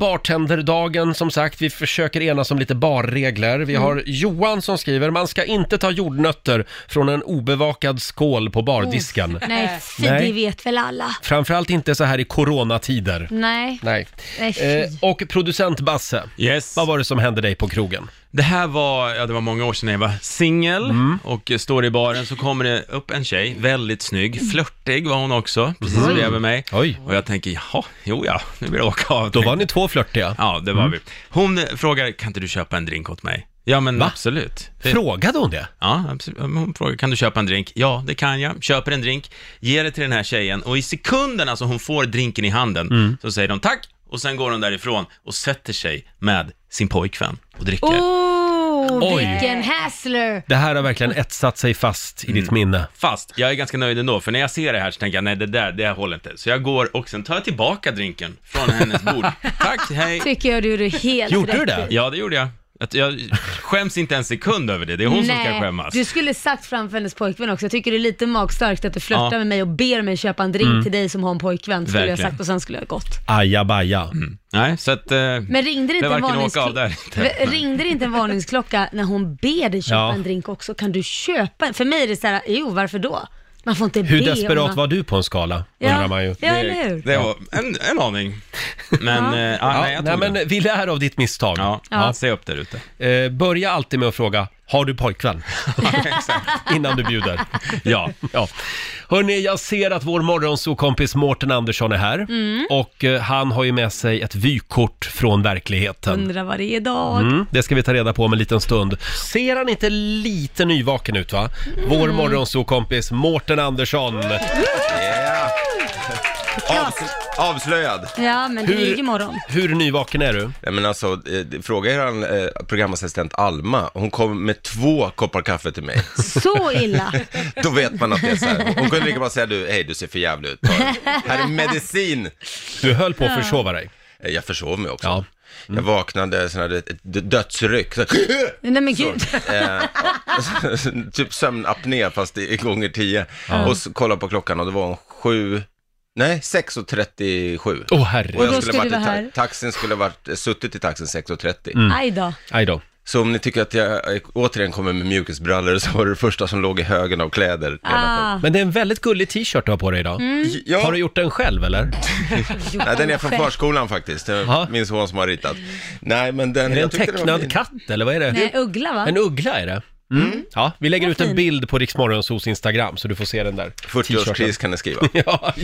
Speaker 1: bartenderdagen som sagt. Vi försöker enas om lite barregler. Vi
Speaker 2: Mm.
Speaker 1: har Johan som skriver, man ska inte ta jordnötter från en obevakad skål på bardisken.
Speaker 2: Nej, fy,
Speaker 1: Nej.
Speaker 2: det vet väl alla.
Speaker 1: Framförallt inte så här i coronatider.
Speaker 2: Nej,
Speaker 1: Nej.
Speaker 2: nej fy.
Speaker 1: Eh, och producent Basse,
Speaker 9: Yes.
Speaker 1: vad var det som hände dig på krogen?
Speaker 9: Det här var, ja det var många år sedan när jag var singel
Speaker 1: Mm.
Speaker 9: och eh, står i baren så kommer det upp en tjej, väldigt snygg, flörtig var hon också, precis bredvid mig.
Speaker 1: Mm. Oj.
Speaker 9: Och jag tänker, jaha, jo ja, nu blir det åka av.
Speaker 1: Då var ni två flörtiga. Mm.
Speaker 9: Ja, det var vi. Hon eh, frågar, kan inte du köpa en drink åt mig? Ja, men absolut. Det-
Speaker 1: Frågade hon det?
Speaker 9: Ja, absolut. Men Hon frågar, kan du köpa en drink? Ja, det kan jag. Köper en drink, ger det till den här tjejen och i sekunderna som hon får drinken i handen
Speaker 1: Mm.
Speaker 9: så säger de tack och sen går hon därifrån och sätter sig med sin pojkvän och dricker.
Speaker 2: Oh,
Speaker 1: Oj.
Speaker 2: vilken hassler!
Speaker 1: Det här har verkligen etsat sig fast i ditt minne.
Speaker 9: Mm. Fast jag är ganska nöjd ändå, för när jag ser det här så tänker jag nej det där, det här håller inte. Så jag går och sen tar jag tillbaka drinken från hennes bord. Tack, hej.
Speaker 2: Tycker jag du är helt
Speaker 1: Gjorde
Speaker 2: rätt
Speaker 1: du det?
Speaker 2: i.
Speaker 9: Ja, det gjorde jag. Att jag skäms inte en sekund över det, det är hon som ska skämmas.
Speaker 2: du skulle sagt framför hennes pojkvän också. Jag tycker det är lite magstarkt att du flörtar
Speaker 9: Ja.
Speaker 2: med mig och ber mig köpa en drink till dig som har en pojkvän, skulle jag
Speaker 9: Verkligen.
Speaker 2: sagt och sen skulle jag gått.
Speaker 1: Ajabaja.
Speaker 9: Nej, så att... eh,
Speaker 2: Men ringde det
Speaker 9: Det
Speaker 2: inte,
Speaker 9: var
Speaker 2: en,
Speaker 9: varken åka av
Speaker 2: varningsklo-
Speaker 9: där inte.
Speaker 2: ringde det inte en varningsklocka när hon ber dig köpa
Speaker 1: Ja.
Speaker 2: en drink också? Kan du köpa en? För mig är det så här, jo varför då? Man får inte
Speaker 1: Hur
Speaker 2: be
Speaker 1: desperat
Speaker 2: om
Speaker 1: var du på en skala?
Speaker 2: ja.
Speaker 1: Undrar man ju.
Speaker 2: Ja, eller hur?
Speaker 9: Det var en, en aning. Men, ja. Eh, ja, nej, jag
Speaker 1: nej,
Speaker 9: tog
Speaker 1: men
Speaker 9: den.
Speaker 1: vi lär av ditt misstag.
Speaker 9: Ja,
Speaker 2: Ja.
Speaker 9: se upp där ute.
Speaker 1: Eh, börja alltid med att fråga, har du pojkvän? Innan du bjuder.
Speaker 9: Ja.
Speaker 1: Ja. Hörni, jag ser att vår morgonsokompis Mårten Andersson är här.
Speaker 2: Mm.
Speaker 1: Och eh, han har ju med sig ett vykort från verkligheten.
Speaker 2: Undrar vad det är idag.
Speaker 1: Mm, det ska vi ta reda på om en liten stund. Ser han inte lite nyvaken ut va?
Speaker 2: Mm.
Speaker 1: Vår morgonsokompis Mårten Andersson.
Speaker 7: Avs- avslöjad.
Speaker 2: Ja, men det är ju imorgon.
Speaker 1: hur nyvaken är du?
Speaker 7: Nej men alltså, eh, fråga er eh, programassistent Alma. Hon kom med två koppar kaffe till mig.
Speaker 2: Så illa.
Speaker 7: Då vet man att det är så här. Hon kunde lika bra säga du, hej du ser för jävlig ut. Ta den. Här är medicin.
Speaker 1: Du höll på att försova dig.
Speaker 7: Eh, Jag försov mig också.
Speaker 1: Ja.
Speaker 7: Jag vaknade sån här, ett d- dödsryck. Så,
Speaker 2: Nej men gud.
Speaker 7: eh, ja. typ sömnapné fast i, i gånger tio. Och så kollade på klockan och det var hon sju, nej 6.37.
Speaker 1: Åh herre.
Speaker 7: Och
Speaker 2: då
Speaker 7: jag
Speaker 2: ska
Speaker 7: skulle varit
Speaker 2: du
Speaker 7: i
Speaker 2: vara här.
Speaker 7: ta- taxin, skulle varit, eh, suttit i taxin 6.30.
Speaker 2: Aj då.
Speaker 1: Mm. Aj då.
Speaker 7: Så om ni tycker att jag eh, återigen kommer med mjukisbrallor så var det första som låg i högen av kläder.
Speaker 2: Ah, Mm.
Speaker 1: Men det är en väldigt gullig t-shirt du har på dig idag.
Speaker 7: Ja,
Speaker 1: Har du gjort den själv eller?
Speaker 2: jo,
Speaker 7: nej, den är från
Speaker 2: själv.
Speaker 7: förskolan faktiskt. Det är
Speaker 1: Jaha.
Speaker 7: Min son som har ritat. Nej, men den...
Speaker 1: Är det en
Speaker 7: jag tyckte var
Speaker 1: tecknad
Speaker 7: fin.
Speaker 1: katt eller vad är det?
Speaker 2: Nej, uggla va?
Speaker 1: En uggla är det. Mm. Ja, vi lägger ut en
Speaker 2: fin.
Speaker 1: bild på Riksmorgonsos Instagram så du får se den där
Speaker 7: 40-årskris kan ni skriva.
Speaker 1: Ja,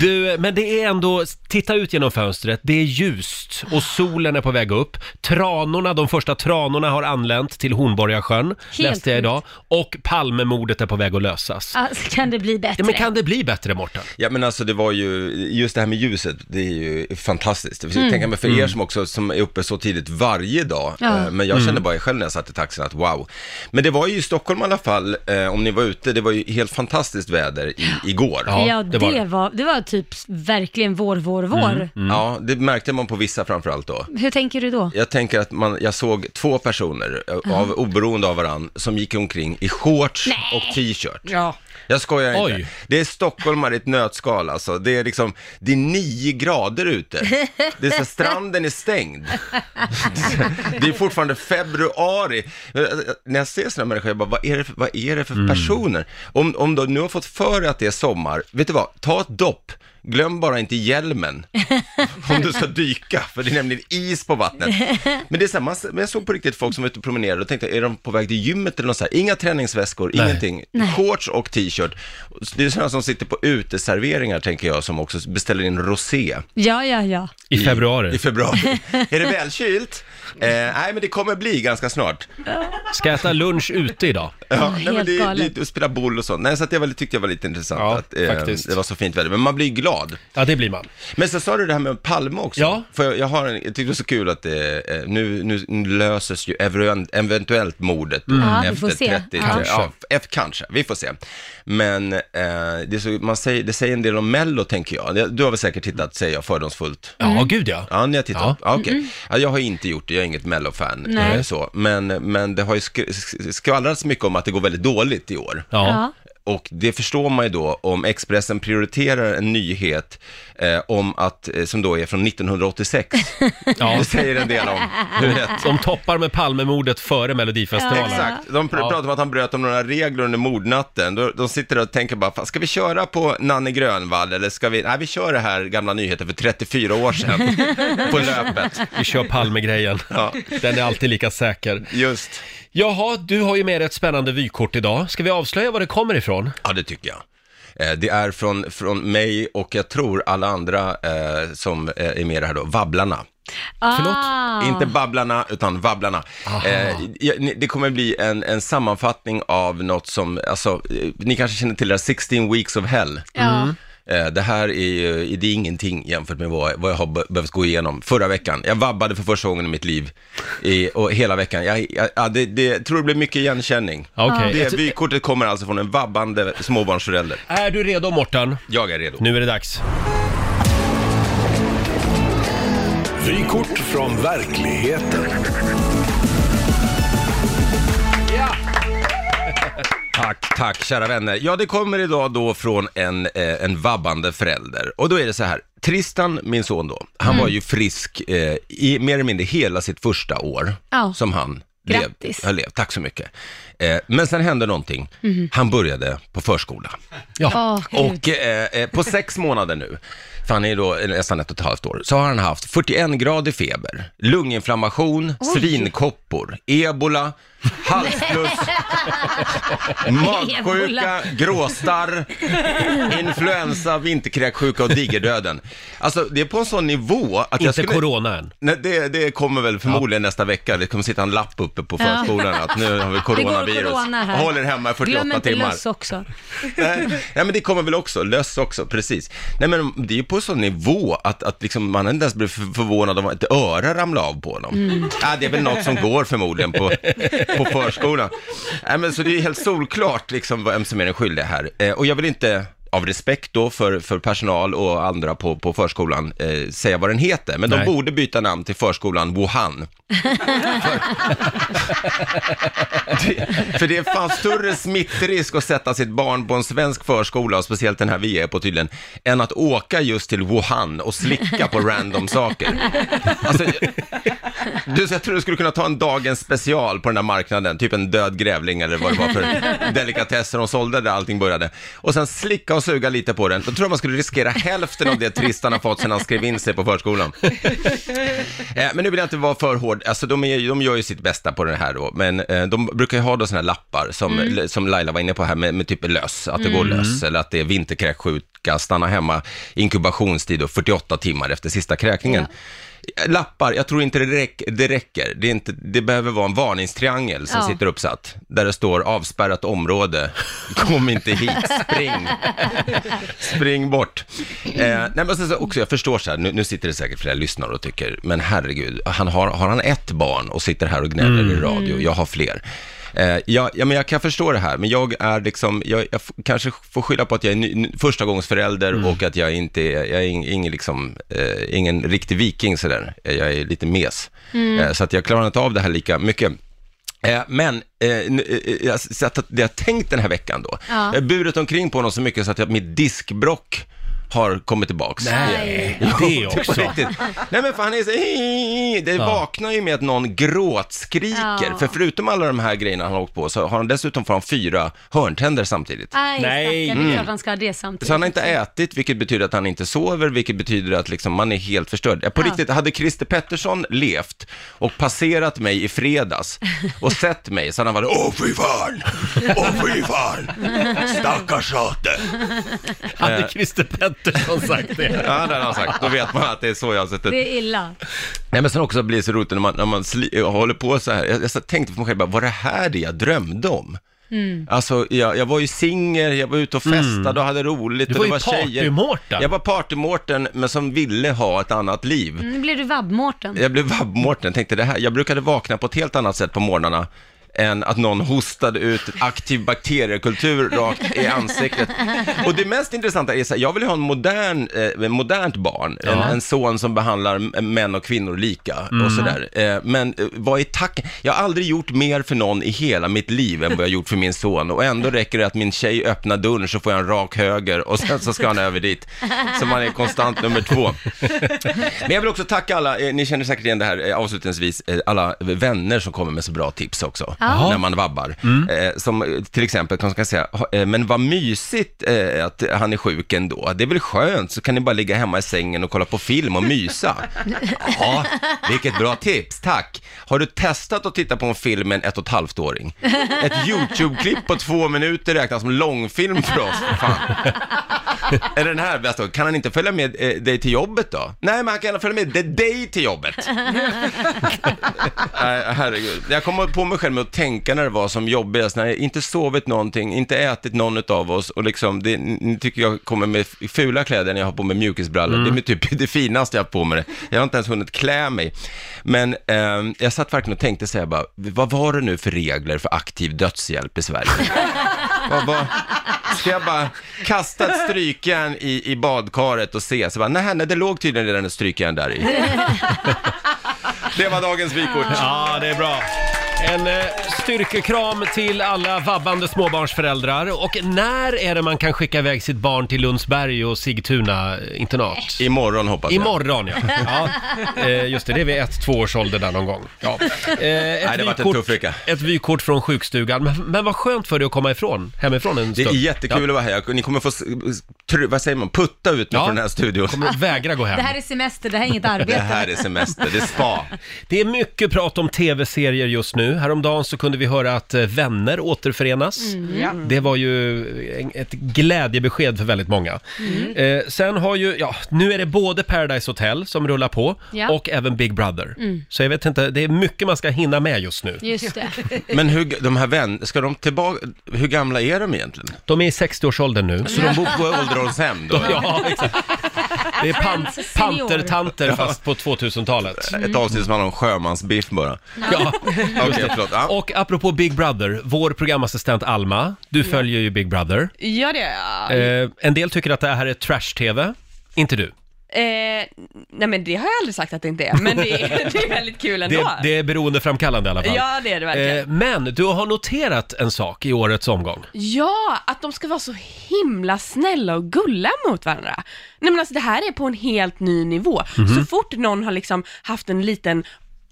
Speaker 1: du, men det är ändå, titta ut genom fönstret, det är ljust och solen är på väg upp. Tranorna, de första tranorna har anlänt till Hornborgasjön, läste jag
Speaker 2: sjukt.
Speaker 1: idag. Och Palmemordet är på väg att lösas.
Speaker 2: Alltså, kan det bli bättre?
Speaker 1: Ja, men kan det bli bättre, Mårten?
Speaker 7: Ja men alltså det var ju, just det här med ljuset, det är ju fantastiskt. Jag tänka mig för er som också, som är uppe så tidigt varje dag,
Speaker 2: Mm. Ja. Mm.
Speaker 7: eh, men jag kände bara själv när jag satt i taxin att wow. Men det var ju i Stockholm i alla fall, eh, om ni var ute, det var ju helt fantastiskt väder i, igår.
Speaker 1: Ja,
Speaker 2: Ja,
Speaker 1: det
Speaker 2: det,
Speaker 1: var det. Mm.
Speaker 2: var... det var typ verkligen vår, vår, Mm-hmm. vår.
Speaker 7: Mm-hmm. Ja, det märkte man på vissa framförallt då.
Speaker 2: Hur tänker du då?
Speaker 7: Jag tänker att man, jag såg två personer, eh, av, oberoende av varandra, som gick omkring i shorts och t-shirt.
Speaker 3: Ja.
Speaker 7: Jag skojar inte.
Speaker 1: Oj.
Speaker 7: Det är stockholmare i ett nötskal alltså. Det är liksom, det är nio grader ute. Det är så, stranden är stängd. Det är fortfarande februari. Eh, När jag ser sådana människor, jag bara, vad är det för, vad är det för personer? Om, om du nu har fått för dig att det är sommar, vet du vad, ta ett dopp. Glöm bara inte hjälmen om du ska dyka, för det är nämligen is på vattnet. Men det är så här, man, men jag såg på riktigt folk som var ute och promenerade och tänkte, är de på väg till gymmet eller något så här? Inga träningsväskor,
Speaker 1: Nej.
Speaker 7: ingenting. Shorts och t-shirt. Det är sådana som sitter på uteserveringar, tänker jag, som också beställer in rosé
Speaker 2: Ja, ja, ja.
Speaker 1: I februari?
Speaker 7: i februari. är det välkylt? Eh, nej, men det kommer bli ganska snart.
Speaker 1: Ska jag äta lunch ute idag?
Speaker 7: Ja, nej, men
Speaker 2: helt
Speaker 7: det,
Speaker 2: galet.
Speaker 7: det, och spela boll och sånt. Nej, så att jag väl, tyckte jag var lite intressant
Speaker 1: Ja,
Speaker 7: att eh,
Speaker 1: faktiskt.
Speaker 7: det var så fint väder. Men man blir ju glad.
Speaker 1: Ja, det blir man.
Speaker 7: Men sen sa du det här med Palme också.
Speaker 1: Ja.
Speaker 7: För jag, jag, har en, jag tyckte det var så kul att det, eh, nu, nu nu löses ju evren- eventuellt mordet
Speaker 1: Mm.
Speaker 7: då
Speaker 2: Ja, vi
Speaker 7: efter
Speaker 2: får se.
Speaker 7: 30.
Speaker 2: Ja.
Speaker 7: Kanske. Ja, f- kanske, vi får se. Men eh, det, är så, man säger, det säger en del om Mello tänker jag. Det- Du har väl säkert tittat, säger jag fördomsfullt.
Speaker 1: Ja,
Speaker 2: Mm.
Speaker 1: gud ja.
Speaker 7: Ja, ni har tittat.
Speaker 1: Ja.
Speaker 7: Ja. okej. ja, jag har inte gjort det, jag är inget Mello-fan.
Speaker 2: Nej.
Speaker 7: eh, Så. Men, men det har ju sk- sk- skvallrats mycket om att det går väldigt dåligt i år.
Speaker 1: Ja.
Speaker 2: Ja.
Speaker 7: Och det förstår man ju då om Expressen prioriterar en nyhet eh, om att, eh, som då är från 1986.
Speaker 1: Ja.
Speaker 7: Det säger en del om hur rätt.
Speaker 1: De toppar med Palmemordet före Melodifestivalen.
Speaker 7: Exakt, de pr-
Speaker 1: Ja.
Speaker 7: pratar om att han bröt om några regler under mordnatten. De, de sitter där och tänker bara, "Fan, ska vi köra på Nanne Grönvall eller ska vi, nej vi kör det här gamla nyheten för 34 år sedan på löpet.
Speaker 1: Vi kör Palmegrejen.
Speaker 7: Ja.
Speaker 1: Den är alltid lika säker.
Speaker 7: Just,
Speaker 1: Jaha, du har ju med dig ett spännande vykort idag. Ska vi avslöja var det kommer ifrån?
Speaker 7: ja det tycker jag. Eh, Det är från, från mig och jag tror alla andra eh, som eh, är med i det här då, Vabblarna.
Speaker 2: Ah.
Speaker 7: Inte Babblarna, utan Vabblarna. Eh, ja, ni- det kommer bli en, en sammanfattning av något som, alltså, eh, ni kanske känner till det här, 16 weeks of hell.
Speaker 1: Mm.
Speaker 2: Ja.
Speaker 7: Eh, det här är, ju- det är ingenting jämfört med vad, vad jag har be- behövt gå igenom förra veckan. Jag vabbade för första gången i mitt liv, i, och hela veckan. Jag, jag, ja, det, det, jag tror det blir mycket igenkänning.
Speaker 1: Ja, okej.
Speaker 7: Det vykortet kommer alltså från en vabbande småbarnsförälder.
Speaker 1: Är du redo Morten?
Speaker 7: Jag är redo.
Speaker 1: Nu är det dags.
Speaker 4: Vykort från verkligheten.
Speaker 7: Tack, tack kära vänner. Ja, det kommer idag då från en, eh, en vabbande förälder. Och då är det så här, Tristan, min son då, han
Speaker 2: Mm.
Speaker 7: var ju frisk eh, i mer eller mindre hela sitt första år
Speaker 2: Ja.
Speaker 7: som han
Speaker 2: Grattis.
Speaker 7: har levt. Tack så mycket. Eh, men sen hände någonting. Han började på förskola.
Speaker 1: Ja.
Speaker 2: Åh, Mhm. gud.
Speaker 7: Och eh, eh, på sex månader nu, för han är ju då nästan ett och ett halvt år, så har han haft 41 grader feber, lunginflammation, svinkoppor, ebola, halsfluss, magsjuka,
Speaker 2: Ebola.
Speaker 7: gråstarr, influensa, vinterkräksjuka och digerdöden. Alltså det är på en sån nivå att jag
Speaker 1: Inte
Speaker 7: skulle...
Speaker 1: corona än.
Speaker 7: Nej, det, det kommer väl förmodligen nästa vecka. Det kommer sitta en lapp uppe på förskolan att nu har vi
Speaker 2: Det går
Speaker 7: coronavirus.
Speaker 2: corona här.
Speaker 7: Håller hemma i 48
Speaker 2: Glöm inte
Speaker 7: timmar.
Speaker 2: löss också.
Speaker 7: Nej, nej, men det kommer väl också, löss också, precis. Nej, men det är ju på sån nivå att, att liksom man inte ens blir för- förvånad om att ett öra ramlar av på dem. Ja, det är väl något som går förmodligen på, på förskolan. Nej, men så det är ju helt solklart liksom vem som är den skyldiga här. Eh, och jag vill inte av respekt då för, för personal och andra på, på förskolan, eh, säga vad den heter. Men
Speaker 1: Nej.
Speaker 7: de borde byta namn till förskolan Wuhan. Det- För det är fan större smittrisk att sätta sitt barn på en svensk förskola, och speciellt den här vi är på tydligen, än att åka just till Wuhan och slicka på random saker. Alltså, du, så jag tror du skulle kunna ta en dagens special på den där marknaden, typ en död grävling eller vad det var för delikatesser de sålde där allting började. Och sen slicka och suga lite på den. Då tror jag man skulle riskera hälften av det Tristan har fått sedan han skrev in sig på förskolan. Eh, Men nu vill jag inte vara för hård, alltså de, är, ju- de gör ju sitt bästa på det här då, men eh, de brukar ju ha då såna här lappar som, l- som Laila var inne på här med, med typ löss, att det går löss eller att det är vinterkräksjuka, stanna hemma, inkubationstid och 48 timmar efter sista kräkningen. Lappar, jag tror inte det, räck, det räcker. Det, är inte, det behöver vara en varningstriangel som
Speaker 2: Ja.
Speaker 7: sitter uppsatt, där det står avspärrat område, kom inte hit, spring. Spring bort. Eh, nej, men sen så också, jag förstår så här, nu, nu sitter det säkert flera lyssnare och tycker, men herregud, han har, har han ett barn och sitter här och gnäller i radio, jag har fler. Eh, ja, ja, men jag kan förstå det här, men jag är liksom, jag, jag f- kanske får skylla på att jag är ny, ny- första gångs förälder och att jag inte är, jag är ing, ingen, liksom, eh, ingen riktig viking sådär, Eh, jag är lite mes. Eh, så att jag klarar inte av det här lika mycket. Eh, Men eh, nu, eh, jag, så att det jag tänkt den här veckan då,
Speaker 2: Ja.
Speaker 7: jag har burit omkring på honom så mycket så att jag, mitt diskbrock har kommit tillbaks.
Speaker 1: Nej, det
Speaker 7: på
Speaker 1: också.
Speaker 7: riktigt. Nej men för han är så, det vaknar ju med att någon gråtskriker.
Speaker 2: Ja.
Speaker 7: För förutom alla de här grejerna han har åkt på så har han dessutom får han fyra hörntänder samtidigt.
Speaker 2: Aj,
Speaker 1: Nej.
Speaker 2: Nej. Stackarn, det är klart han ska ha det samtidigt.
Speaker 7: Mm. Så han har inte ätit, vilket betyder att han inte sover, vilket betyder att liksom man är helt förstörd. Ja, På riktigt, hade Christer Pettersson levt och passerat mig i fredags och sett mig, så hade han varit åh fy fan, åh fy fan, stackars sate.
Speaker 1: Hade Christer Pettersson sagt det.
Speaker 7: Eh, Ja, det har han sagt. Då vet man att det är så jag har sett ut.
Speaker 2: Det är illa.
Speaker 7: Nej men sen också blir det så roligt när man, när man sli- håller på så här. Jag, jag så- tänkte på mig själv, bara, var det här det jag drömde om?
Speaker 10: Mm.
Speaker 7: Alltså jag, jag var ju singel, jag var ute och festade och hade roligt.
Speaker 1: Du
Speaker 7: och
Speaker 1: var
Speaker 7: det
Speaker 1: ju
Speaker 7: Mm. var tjejer.
Speaker 1: party-Mårten.
Speaker 7: Jag var partymårten men som ville ha ett annat liv.
Speaker 2: Mm, Nu blev du vabb-Mårten.
Speaker 7: Jag blev vabbmårten, tänkte det här. Jag brukade vakna på ett helt annat sätt på morgnarna än att någon hostade ut aktiv bakteriekultur rakt i ansiktet. Och det mest intressanta är så här, jag vill ju ha en modern, eh, modernt barn, en, en son som behandlar m- män och kvinnor lika och sådär. Eh, men eh, vad är tacken? Jag har aldrig gjort mer för någon i hela mitt liv än vad jag har gjort för min son och ändå räcker det att min tjej öppnar dörren så får jag en rak höger och sen så ska han över dit. Så man är konstant nummer två. Men jag vill också tacka alla, eh, ni känner säkert igen det här eh, avslutningsvis, eh, alla vänner som kommer med så bra tips också, när man vabbar. Eh, som eh, till exempel, kan kan säga, "Ha, eh, men vad mysigt eh, att han är sjuk ändå, det är väl skönt, så kan ni bara ligga hemma i sängen och kolla på film och mysa. ja, vilket bra tips, tack. Har du testat att titta på en film med en ett och ett halvt åring? Ett YouTube-klipp på två minuter räknas som långfilm för oss, för fan. Är den här bäst då? Kan han inte följa med eh, dig till jobbet då? Nej, men han kan gärna följa med det- dig till jobbet. Nej, herregud. Jag kommer på mig själv med att tänka när det var som jobbigast, när jag inte sovit någonting, inte ätit någon av oss och liksom, det, ni tycker jag kommer med f- fula kläder när jag har på mig mjukisbrallor.
Speaker 1: Mm.
Speaker 7: Det är typ det finaste jag har på mig. det. Jag har inte ens hunnit klä mig. Men ehm, jag satt verkligen och tänkte så här bara, vad var det nu för regler för aktiv dödshjälp i Sverige? Vad- vad- Ska jag bara kasta ett strykjärn i, i badkaret och se? Så bara, nej, nej, det låg tydligen redan ett strykjärn där i. Det var dagens vykort.
Speaker 1: Ja, det är bra. En eh, styrkekram till alla vabbande småbarnsföräldrar. Och när är det man kan skicka iväg sitt barn till Lundsberg och Sigtuna eh, internat?
Speaker 7: Imorgon hoppas jag.
Speaker 1: Imorgon ja. ja. Eh, Just det, det är vid ett, två års ålder där någon gång. Ja. Eh, Ett
Speaker 7: har varit en tuff vecka.
Speaker 1: Ett vykort från sjukstugan. Men, men vad skönt för dig att komma ifrån, hemifrån en
Speaker 7: Det
Speaker 1: stund.
Speaker 7: är jättekul att vara här. Jag- Ni kommer få, s- s- tr- vad säger man, putta ut mig
Speaker 1: Ja.
Speaker 7: från den här studion.
Speaker 1: Ja. Kommer vägra gå hem.
Speaker 2: Det här är semester, det här är inget
Speaker 7: Det
Speaker 2: arbete.
Speaker 7: här är semester, det är spa.
Speaker 1: Det är mycket prat om tv-serier just nu. Häromdagen så kunde vi höra att eh, vänner återförenas.
Speaker 2: Mm.
Speaker 1: Det var ju eh, en- ett glädjebesked för väldigt många.
Speaker 2: Mm.
Speaker 1: Eh, sen har ju, ja, nu är det både Paradise Hotel som rullar på
Speaker 2: Ja. Mm.
Speaker 1: och även Big Brother. Så jag vet inte, det är mycket man ska hinna med just nu.
Speaker 2: Just det.
Speaker 7: Men hur, g- de här vän, ska de tillbaka, hur gamla är de egentligen?
Speaker 1: De är i 60-årsåldern nu.
Speaker 7: Så de bor på ålderdomshem då?
Speaker 1: Ja, exakt. Det är pan-
Speaker 2: Friends senior.
Speaker 1: pantertanter fast på 2000-talet.
Speaker 7: Ett avsnitt som handlar om sjömansbiff bara.
Speaker 1: Ja.
Speaker 7: Okej, förlåt. Ja.
Speaker 1: Och apropå Big Brother, vår programassistent Alma, du följer ju Big Brother.
Speaker 11: Ja, det gör jag.
Speaker 1: Eh, en del tycker att det här är trash-tv. Inte du.
Speaker 11: Eh, nej, men det har jag aldrig sagt att det inte är, men det är, det är väldigt kul ändå.
Speaker 1: Det, det är beroendeframkallande i alla fall.
Speaker 11: Ja, det är det verkligen.
Speaker 1: Eh, men du har noterat en sak i årets omgång.
Speaker 11: Ja, att de ska vara så himla snälla och gulla mot varandra. Nej men alltså det här är på en helt ny nivå.
Speaker 1: Mhm.
Speaker 11: Så fort någon har liksom haft en liten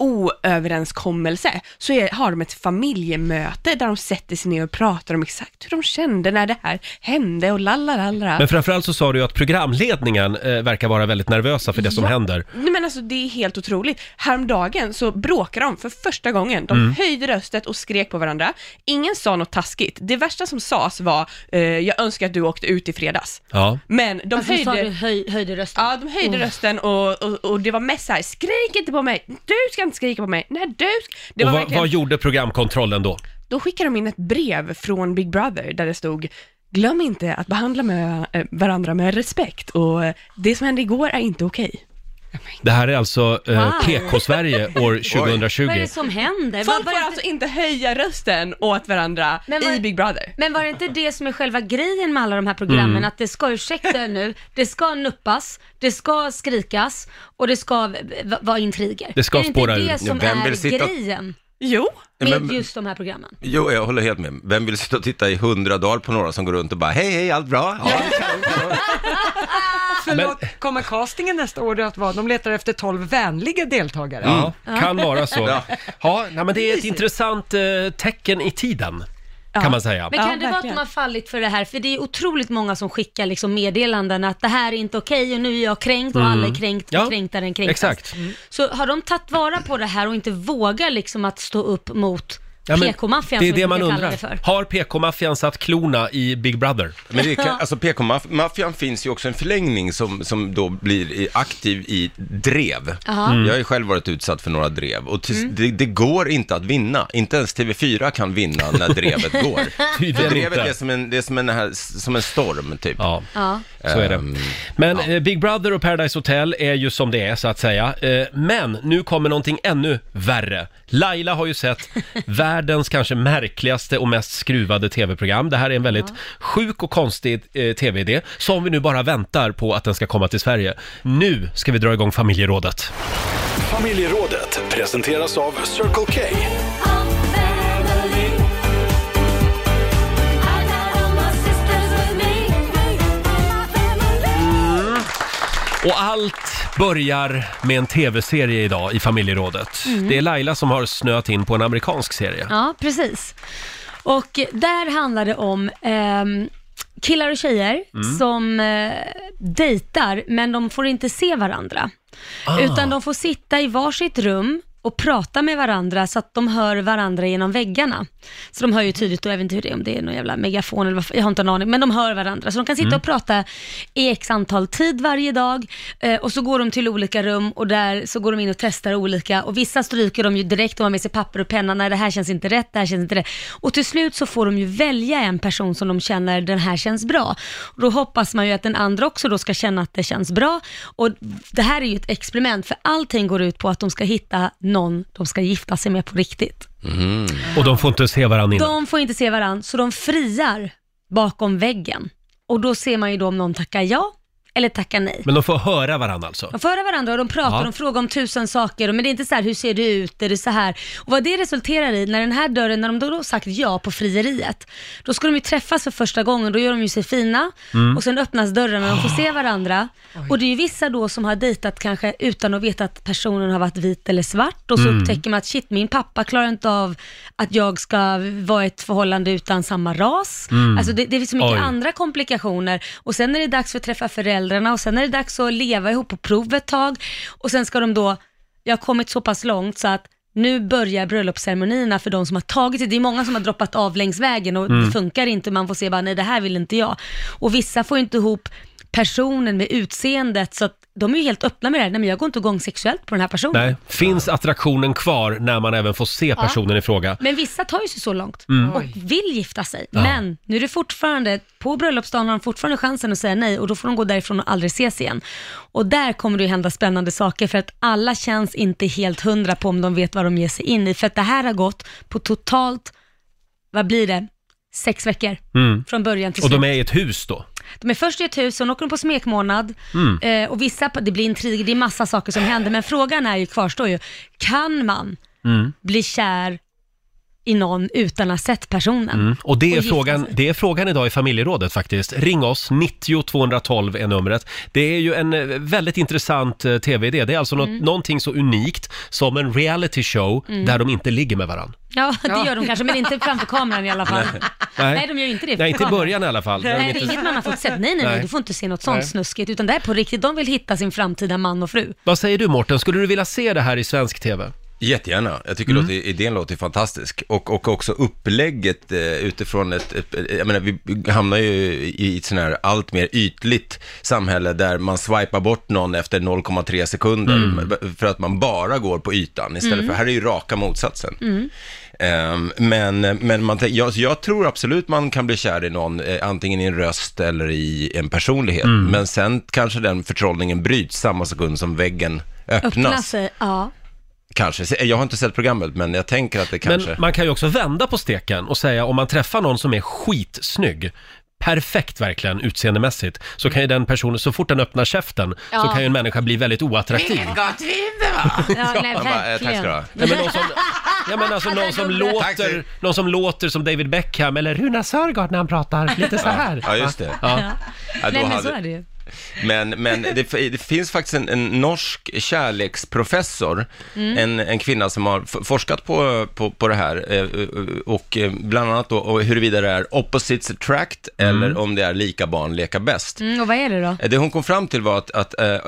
Speaker 11: oöverenskommelse så är, har de ett familjemöte där de sätter sig ner och pratar om exakt hur de kände när det här hände och lalalala.
Speaker 1: Men framförallt så sa du ju att programledningen eh, verkar vara väldigt nervösa för det som händer.
Speaker 11: Nej men alltså det är helt otroligt. Häromdagen så bråkade de för första gången. De
Speaker 1: Mm.
Speaker 11: höjde röstet och skrek på varandra. Ingen sa något taskigt. Det värsta som sades var eh, “Jag önskar att du åkte ut i fredags”.
Speaker 1: Ja.
Speaker 11: Men de
Speaker 2: Alltså, nu sa Mm.
Speaker 11: höjde...
Speaker 2: du höj, höjde rösten.
Speaker 11: Ja, de höjde rösten och, och, och det var mest såhär, skrik inte på mig, du ska inte skrika på mig, nej du ska... Det
Speaker 1: Och
Speaker 11: var
Speaker 1: vad,
Speaker 11: verkligen...
Speaker 1: vad gjorde programkontrollen då?
Speaker 11: Då skickade de in ett brev från Big Brother där det stod, glöm inte att behandla med, eh, varandra med respekt och eh, det som hände igår är inte okej.
Speaker 1: Det här är alltså eh,
Speaker 2: Wow.
Speaker 1: PK-Sverige år 2020.
Speaker 2: Vad är det som händer? Var,
Speaker 11: Folk
Speaker 2: var
Speaker 11: får
Speaker 2: det,
Speaker 11: alltså inte höja rösten åt varandra
Speaker 2: Men vad-
Speaker 11: i Big Brother.
Speaker 2: Men var det inte det som är själva grejen med alla de här programmen?
Speaker 7: Mm.
Speaker 2: Att det ska, ursäkta nu, det ska nuppas, det ska skrikas och det ska v- v- vara intriger.
Speaker 1: Det ska
Speaker 2: är det inte
Speaker 1: spåra ur.
Speaker 2: det som
Speaker 7: Vem vill
Speaker 2: är
Speaker 7: sitta-
Speaker 2: grejen
Speaker 11: Jo,
Speaker 2: med
Speaker 7: Men-
Speaker 2: just de här programmen?
Speaker 7: Jo, jag håller helt med. Vem vill sitta och titta i hundra dagar på några som går runt och bara hej, hej, allt bra? Ja,
Speaker 3: Förlåt, kommer castingen nästa år att vara? De letar efter 12 vänliga deltagare.
Speaker 1: Ja, Mm. kan vara så. Ja,
Speaker 7: Ja.
Speaker 1: nej, men det är ett intressant eh, tecken i tiden, kan man säga.
Speaker 2: Men kan det vara
Speaker 11: Ja,
Speaker 2: att de
Speaker 11: verkligen.
Speaker 2: har fallit för det här? För det är otroligt många som skickar liksom meddelanden att det här är inte okej och nu är jag kränkt och alla är kränkt och
Speaker 1: Mm. Ja,
Speaker 2: kränktare än kränktast.
Speaker 1: exakt.
Speaker 2: Så har de tagit vara på det här och inte vågar liksom att stå upp mot
Speaker 1: Ja, men
Speaker 2: PK-maffian
Speaker 1: Det är
Speaker 2: som vi
Speaker 1: det man
Speaker 2: brukar kalla
Speaker 1: undrar.
Speaker 2: det för.
Speaker 1: Har PK-maffian satt klorna i Big Brother?
Speaker 7: Men det kan, alltså PK-maffian finns ju också en förlängning som, som då blir i- aktiv i drev.
Speaker 2: Ja. Mm.
Speaker 7: Jag har ju själv varit utsatt för några drev och tills,
Speaker 1: Mm.
Speaker 7: det, det går inte att vinna. Inte ens TV4 kan vinna när drevet går. För
Speaker 1: Tydligen
Speaker 7: drevet
Speaker 1: inte.
Speaker 7: är som en, det är som en, här, som en storm typ.
Speaker 1: Ja.
Speaker 2: Ja.
Speaker 1: Så är det.
Speaker 7: Ehm,
Speaker 1: Men eh, Big Brother och Paradise Hotel är ju som det är så att säga. Eh, men nu kommer någonting ännu värre. Laila har ju sett världens kanske märkligaste och mest skruvade tv-program. Det här är en väldigt sjuk och konstig eh, tv-idé som vi nu bara väntar på att den ska komma till Sverige. Nu ska vi dra igång familjerådet.
Speaker 4: Familjerådet presenteras av Circle K.
Speaker 1: Mm. Och allt börjar med en tv-serie idag i familjerådet.
Speaker 2: Mm.
Speaker 1: Det är Laila som har snöat in på en amerikansk serie.
Speaker 2: Ja, precis. Och där handlar det om ehm, killar och tjejer som eh, dejtar, men de får inte se varandra. Utan de får sitta i varsitt rum och prata med varandra så att de hör varandra genom väggarna. Så de hör ju tydligt, och jag vet inte hur det är, om det är någon jävla megafon eller vad, jag har inte en aning, men de hör varandra. Så de kan sitta och prata i x antal tid varje dag eh, och så går de till olika rum och där så går de in och testar olika och vissa stryker de ju direkt och har med sig papper och penna, nej det här känns inte rätt, det här känns inte rätt. Och till slut så får de ju välja en person som de känner, den här känns bra. Och då hoppas man ju att den andra också då ska känna att det känns bra. Och det här är ju ett experiment, för allting går ut på att de ska hitta någon de ska gifta sig med på riktigt.
Speaker 1: Och de får inte se varandra innan.
Speaker 2: De får inte se varandra, så de friar bakom väggen. Och då ser man ju då om någon tackar ja eller tackar nej.
Speaker 1: Men de får höra varandra alltså?
Speaker 2: De får höra varandra och de pratar,
Speaker 1: Ja.
Speaker 2: de frågar om tusen saker, men det är inte så här, hur ser du ut, är det så här? Och vad det resulterar i, när den här dörren, när de då sagt ja på frieriet, då ska de ju träffas för första gången, då gör de ju sig fina
Speaker 1: Mm.
Speaker 2: och sen öppnas dörren och de får
Speaker 1: Ah.
Speaker 2: se varandra. Och det är ju vissa då som har dejtat kanske utan att veta att personen har varit vit eller svart och så
Speaker 1: Mm.
Speaker 2: upptäcker man att shit, min pappa klarar inte av att jag ska vara i ett förhållande utan samma ras. Alltså det, det finns så mycket
Speaker 1: Mm. Oj.
Speaker 2: annat andra komplikationer och sen är det dags för att träffa föräldrarna och sen är det dags att leva ihop på prov ett tag och sen ska de då, jag har kommit så pass långt så att nu börjar bröllopsceremonierna för de som har tagit det. Det är många som har droppat av längs vägen och det funkar inte. Man får se bara, nej det här vill inte jag. Och vissa får inte ihop personen med utseendet så att de är ju helt öppna med det här. Nej men jag går inte igång sexuellt på den här personen.
Speaker 1: Nej, finns attraktionen kvar när man även får se personen i fråga?
Speaker 2: Men vissa tar ju sig så långt och vill gifta sig.
Speaker 1: Mm. Ja.
Speaker 2: Men nu är det fortfarande, på bröllopsdagen har de fortfarande chansen att säga nej och då får de gå därifrån och aldrig ses igen. Och där kommer det ju hända spännande saker för att alla känns inte helt hundra på om de vet vad de ger sig in i. För att det här har gått på totalt, vad blir det? Sex veckor från början till
Speaker 1: Mm. Och
Speaker 2: slut.
Speaker 1: de är i ett hus då?
Speaker 2: De är först i ett hus, sen åker de på smekmånad
Speaker 1: Mm.
Speaker 2: eh, och vissa, det blir intriger, det är massa saker som händer. Men frågan är ju, kvarstår ju, kan man bli kär i någon utan att ha sett personen?
Speaker 1: Mm. Och det är,
Speaker 2: Mm. gifta
Speaker 1: frågan,
Speaker 2: sig.
Speaker 1: det är frågan idag i familjerådet faktiskt. Ring oss, 90 212 är numret. Det är ju en eh, väldigt intressant eh, tv-idé. Det är alltså
Speaker 2: Mm.
Speaker 1: nå- någonting så unikt som en reality show där de inte ligger med varandra.
Speaker 2: Ja, det gör de kanske, men inte framför kameran i alla fall. Nej, de gör ju inte
Speaker 1: Nej,
Speaker 2: det. framför
Speaker 1: inte i
Speaker 2: kameran.
Speaker 1: början i alla fall. Där de
Speaker 2: Nej, det är
Speaker 1: inte...
Speaker 2: inget man har fått sett. Nej, nej, nej,
Speaker 1: Nej.
Speaker 2: du får inte se något sånt
Speaker 1: Nej.
Speaker 2: snuskigt, utan det är på riktigt. De vill hitta sin framtida man och fru.
Speaker 1: Vad säger du Mårten, skulle du vilja se det här i svensk tv?
Speaker 7: Jättegärna. Jag tycker låter, idén låter fantastisk. Och, och också upplägget eh, utifrån ett, ett, jag menar vi hamnar ju i ett sån här allt mer ytligt samhälle där man swipar bort någon efter 0,3 sekunder för att man bara går på ytan istället för, här är ju raka motsatsen.
Speaker 2: Mm.
Speaker 7: Ehm, men men man, tän- jag, jag tror absolut man kan bli kär i någon, eh, antingen i en röst eller i en personlighet. Men sen kanske den förtrollningen bryts samma sekund som väggen
Speaker 2: Öppna
Speaker 7: öppnas.
Speaker 2: sig, ja.
Speaker 7: Kanske. Jag har inte sett programmet, men jag tänker att det kanske...
Speaker 1: Men man kan ju också vända på steken och säga om man träffar någon som är skitsnygg, perfekt verkligen utseendemässigt, så kan ju den personen, så fort den öppnar käften, så
Speaker 2: Ja.
Speaker 1: kan ju en människa bli väldigt oattraktiv.
Speaker 8: gott hinder va?
Speaker 2: ja, nej,
Speaker 7: Man bara, eh, tack
Speaker 2: verkligen.
Speaker 7: ska du ha.
Speaker 1: Nej, men någon som, ja, men alltså någon som,
Speaker 7: Tack så
Speaker 1: låter,
Speaker 7: mycket.
Speaker 1: någon som låter som David Beckham eller Runa Sörgård när han pratar, lite så här.
Speaker 7: Ja, just det.
Speaker 1: Ja.
Speaker 7: Ja, då
Speaker 2: Nej, men
Speaker 7: hade-
Speaker 2: så är det ju.
Speaker 7: Men, men det, det finns faktiskt en, en norsk kärleksprofessor,
Speaker 3: Mm.
Speaker 7: en, en kvinna som har f- forskat på, på, på det här eh, eh, och eh, bland annat då och huruvida det är opposites attract
Speaker 1: Mm.
Speaker 7: eller om det är lika barn leka bäst.
Speaker 2: Mm, och vad är det då?
Speaker 7: Eh, Det hon kom fram till var att, att, eh, eh,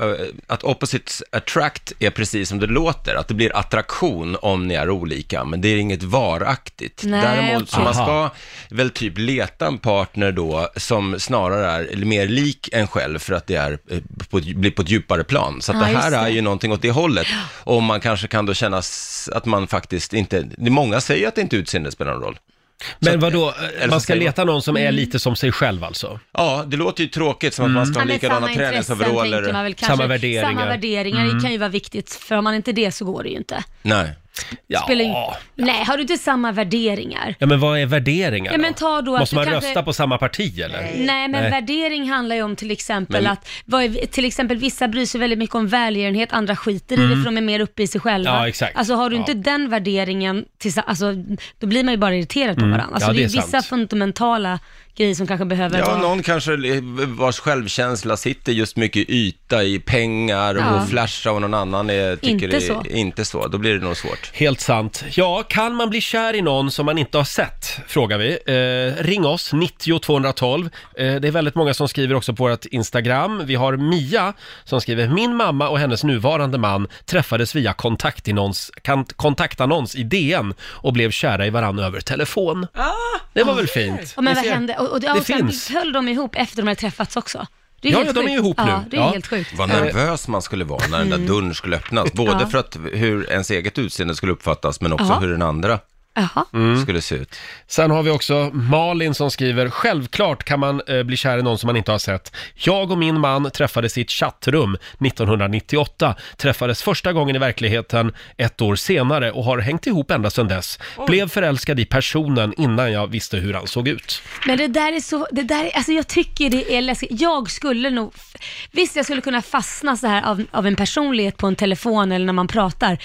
Speaker 7: att opposites attract är precis som det låter, att det blir attraktion om ni är olika, men det är inget varaktigt.
Speaker 3: Nej,
Speaker 7: Däremot så
Speaker 3: okej.
Speaker 7: man ska
Speaker 3: Aha.
Speaker 7: väl typ leta en partner då som snarare är mer lik en själv för att det är eh, på, ett- blir på ett djupare plan. Så att
Speaker 3: Ja,
Speaker 7: det här
Speaker 3: just
Speaker 7: är
Speaker 3: det.
Speaker 7: ju någonting åt det hållet. Och man kanske kan då känna s- att man faktiskt inte, det är många säger att det inte utseende spelar någon roll.
Speaker 1: Men vadå, man ska leta någon som är
Speaker 7: Mm.
Speaker 1: lite som sig själv alltså?
Speaker 7: Ja, det låter ju tråkigt som att man ska ha
Speaker 2: Mm. Ja, men
Speaker 7: likadana
Speaker 2: samma intressen
Speaker 7: träningsoveraller.
Speaker 2: tänker man väl kanske. Samma värderingar det kan ju vara viktigt, för om man inte det så går det ju inte.
Speaker 7: Nej.
Speaker 2: Spelar ju... Nej, har du inte samma värderingar?
Speaker 1: Ja, men vad är värderingar
Speaker 2: Ja, men ta då att
Speaker 1: Måste
Speaker 2: du
Speaker 1: man
Speaker 2: kanske-
Speaker 1: rösta på samma parti eller?
Speaker 2: Nej, men värdering handlar ju om till exempel
Speaker 1: Men-
Speaker 2: att, vad är, till exempel vissa bryr sig väldigt mycket om välgörenhet, andra skiter i det
Speaker 1: Mm.
Speaker 2: för de är mer uppe i sig själva.
Speaker 1: Ja, exakt.
Speaker 2: Alltså har du
Speaker 1: Ja.
Speaker 2: inte den värderingen, tillsa- alltså, då blir man ju bara irriterad på
Speaker 7: Mm.
Speaker 2: varandra. Alltså,
Speaker 7: Ja,
Speaker 2: det är
Speaker 7: det är
Speaker 2: vissa
Speaker 7: sant.
Speaker 2: fundamentala grejer som kanske behöver
Speaker 7: Ja,
Speaker 2: vara...
Speaker 7: någon kanske vars självkänsla sitter just mycket i yta i pengar
Speaker 2: Ja.
Speaker 7: och flasha och någon annan är, tycker
Speaker 1: Inte
Speaker 7: inte
Speaker 1: så.
Speaker 7: så. inte så. Då blir det nog svårt.
Speaker 1: Helt sant. Ja, kan man bli kär i någon som man inte har sett? Frågar vi. Eh, ring oss, 90 212. Eh, det är väldigt många som skriver också på vårt Instagram. Vi har Mia som skriver, min mamma och hennes nuvarande man träffades via kontaktannons, kan- kontaktannons i DN och blev kära i varandra över telefon. det var väl fint?
Speaker 2: Ja, men
Speaker 1: Ni
Speaker 2: vad
Speaker 1: ser,
Speaker 2: hände? Och, och,
Speaker 1: det
Speaker 2: och sen
Speaker 1: finns.
Speaker 2: höll de ihop efter de hade träffats också. Det är
Speaker 7: Ja,
Speaker 2: helt
Speaker 7: ja, de är
Speaker 2: sjukt.
Speaker 7: ihop
Speaker 2: Ja,
Speaker 7: nu.
Speaker 2: det är
Speaker 7: Ja.
Speaker 2: helt sjukt.
Speaker 7: Vad nervös man skulle vara när den där
Speaker 2: Mm.
Speaker 7: dörren skulle öppnas. Både
Speaker 2: Ja.
Speaker 7: för att hur ens eget utseende skulle uppfattas, men också
Speaker 2: Ja.
Speaker 7: hur den andra
Speaker 2: Jaha.
Speaker 1: Mm.
Speaker 7: skulle se ut.
Speaker 1: Sen har vi också Malin som skriver, självklart kan man eh, bli kär i någon som man inte har sett. Jag och min man träffades i ett chattrum 1998, träffades första gången i verkligheten ett år senare och har hängt ihop ända sedan dess. Blev förälskad i personen innan jag visste hur han såg ut.
Speaker 2: Men det där är så, det där, är- alltså jag tycker det är läskigt. Jag skulle nog, visst jag skulle kunna fastna så här av, av en personlighet på en telefon eller när man pratar.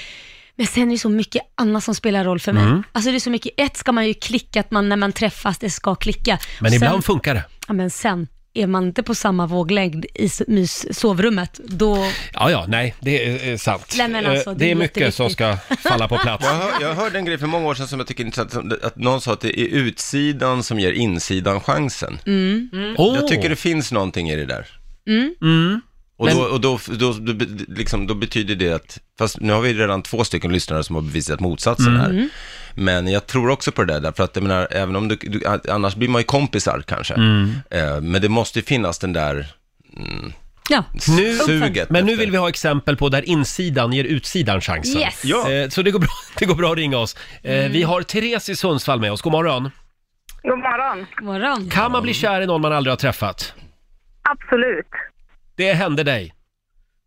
Speaker 2: Men sen är det så mycket annat som spelar roll för mig.
Speaker 1: Mm.
Speaker 2: Alltså det är så mycket, ett ska man ju klicka, att man när man träffas, det ska klicka.
Speaker 1: Men
Speaker 2: sen,
Speaker 1: ibland funkar det.
Speaker 2: Ja men sen, är man inte på samma våglängd i s- mys, sovrummet, då...
Speaker 1: Ja, ja, nej, det är eh, sant.
Speaker 2: Nej, men alltså,
Speaker 1: Eh,
Speaker 2: det
Speaker 1: det
Speaker 2: är
Speaker 1: är mycket som ska falla på plats.
Speaker 7: Jag, hör, jag hörde en grej för många år sedan som jag tycker är intressant, som det- att någon sa att det är utsidan som ger insidan chansen.
Speaker 2: Mm. Mm.
Speaker 7: Jag
Speaker 1: Oh.
Speaker 7: tycker det finns någonting i det där.
Speaker 2: Mm.
Speaker 7: Och,
Speaker 2: Men-
Speaker 7: då, och då, då, då, be- liksom, då betyder det att, fast nu har vi redan två stycken lyssnare som har bevisat motsatsen
Speaker 3: Mm.
Speaker 7: här.
Speaker 3: Mm.
Speaker 7: Men jag tror också på det där, därför att jag menar, även om du, du annars blir man ju kompisar kanske.
Speaker 1: Mm.
Speaker 7: Eh, men det måste ju finnas den där, mm,
Speaker 2: Ja.
Speaker 1: Nu,
Speaker 7: Suget
Speaker 1: men nu vill vi ha exempel på där insidan ger utsidan chansen.
Speaker 3: Yes. Ja.
Speaker 1: Eh, Så det går, bra, det går bra att ringa oss. Eh,
Speaker 3: Mm.
Speaker 1: Vi har Therese i Sundsvall med oss. God morgon.
Speaker 12: God morgon.
Speaker 2: morgon.
Speaker 1: Kan man bli kär i någon man aldrig har träffat?
Speaker 12: Absolut.
Speaker 1: Det hände dig.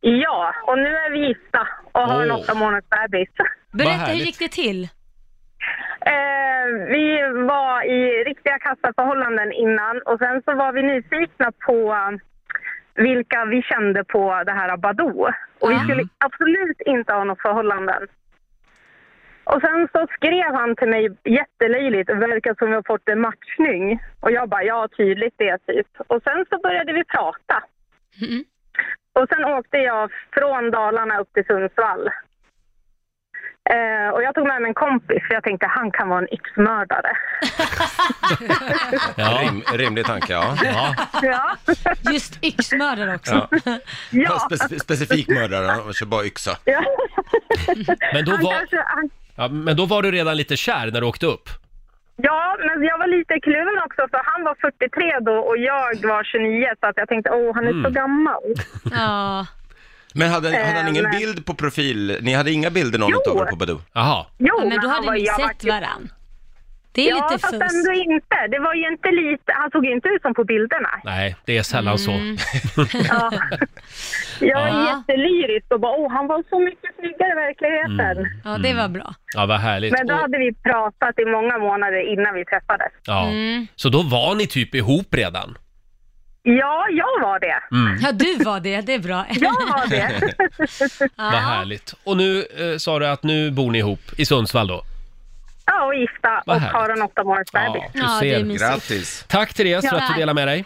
Speaker 12: Ja, och nu är vi gifta och har en
Speaker 1: Åh.
Speaker 12: åtta månaders bebis.
Speaker 1: Berätta, hur härligt. gick
Speaker 2: det till?
Speaker 12: Eh, vi var i riktiga kassaförhållanden innan och sen så var vi nyfikna på vilka vi kände på det här Badoo. Och vi skulle absolut inte ha något förhållanden. Och sen så skrev han till mig jättelöjligt, verkar som vi har fått en matchning. Och jag bara, ja tydligt det typ. Och sen så började vi prata. Och sen åkte jag från Dalarna upp till Sundsvall. Eh, och jag tog med mig en kompis för jag tänkte han kan vara en yxmördare.
Speaker 7: Rim, rimlig tanke, ja.
Speaker 12: Ja.
Speaker 2: Just yxmördare
Speaker 7: Ja.
Speaker 12: Ja.
Speaker 7: Spe- specifik mördare, han kör bara yxa.
Speaker 12: Ja.
Speaker 1: Men då
Speaker 12: han
Speaker 1: var-
Speaker 12: kanske, han,
Speaker 1: Ja, men då var du redan lite kär när du åkte upp.
Speaker 12: ja, men jag var lite kluven också för han var 43 då och jag var 29 så att jag tänkte åh han är så
Speaker 7: Mm.
Speaker 12: gammal.
Speaker 2: Ja.
Speaker 7: Men hade, hade han
Speaker 12: Eh,
Speaker 7: ingen
Speaker 12: men-
Speaker 7: bild på profil? Ni hade inga bilder någon
Speaker 12: Jo.
Speaker 7: utav er på Badoo?
Speaker 1: Jaha.
Speaker 12: Jo,
Speaker 2: Ja, men då
Speaker 12: han
Speaker 2: hade
Speaker 12: var-
Speaker 2: ni
Speaker 12: jag var
Speaker 2: sett varann. Det är
Speaker 12: ja,
Speaker 2: lite
Speaker 12: fast
Speaker 2: fus.
Speaker 12: ändå inte. Det var ju inte lite, han såg ju inte ut som på bilderna.
Speaker 1: Nej, det är sällan
Speaker 2: Mm.
Speaker 1: så.
Speaker 12: Ja. Jag är
Speaker 1: Ja.
Speaker 12: jättelyrisk och bara åh han var så mycket snyggare i verkligheten.
Speaker 1: Mm.
Speaker 2: Ja, det var bra.
Speaker 1: Ja, vad härligt.
Speaker 12: Men då hade vi pratat i många månader innan vi träffades.
Speaker 1: Ja.
Speaker 2: Mm.
Speaker 1: Så då var ni typ ihop redan?
Speaker 12: Ja, jag var det.
Speaker 1: Mm.
Speaker 2: Ja, du var det. Det är bra.
Speaker 12: Jag var det.
Speaker 1: Vad härligt. Och nu eh, sa du att nu bor ni ihop i Sundsvall då?
Speaker 12: Ja, och gifta
Speaker 1: Vad
Speaker 12: och
Speaker 1: härligt.
Speaker 12: har en åtta månaders bebis.
Speaker 1: Du ser. Tack Therese för att du
Speaker 12: Tack.
Speaker 1: delar med dig.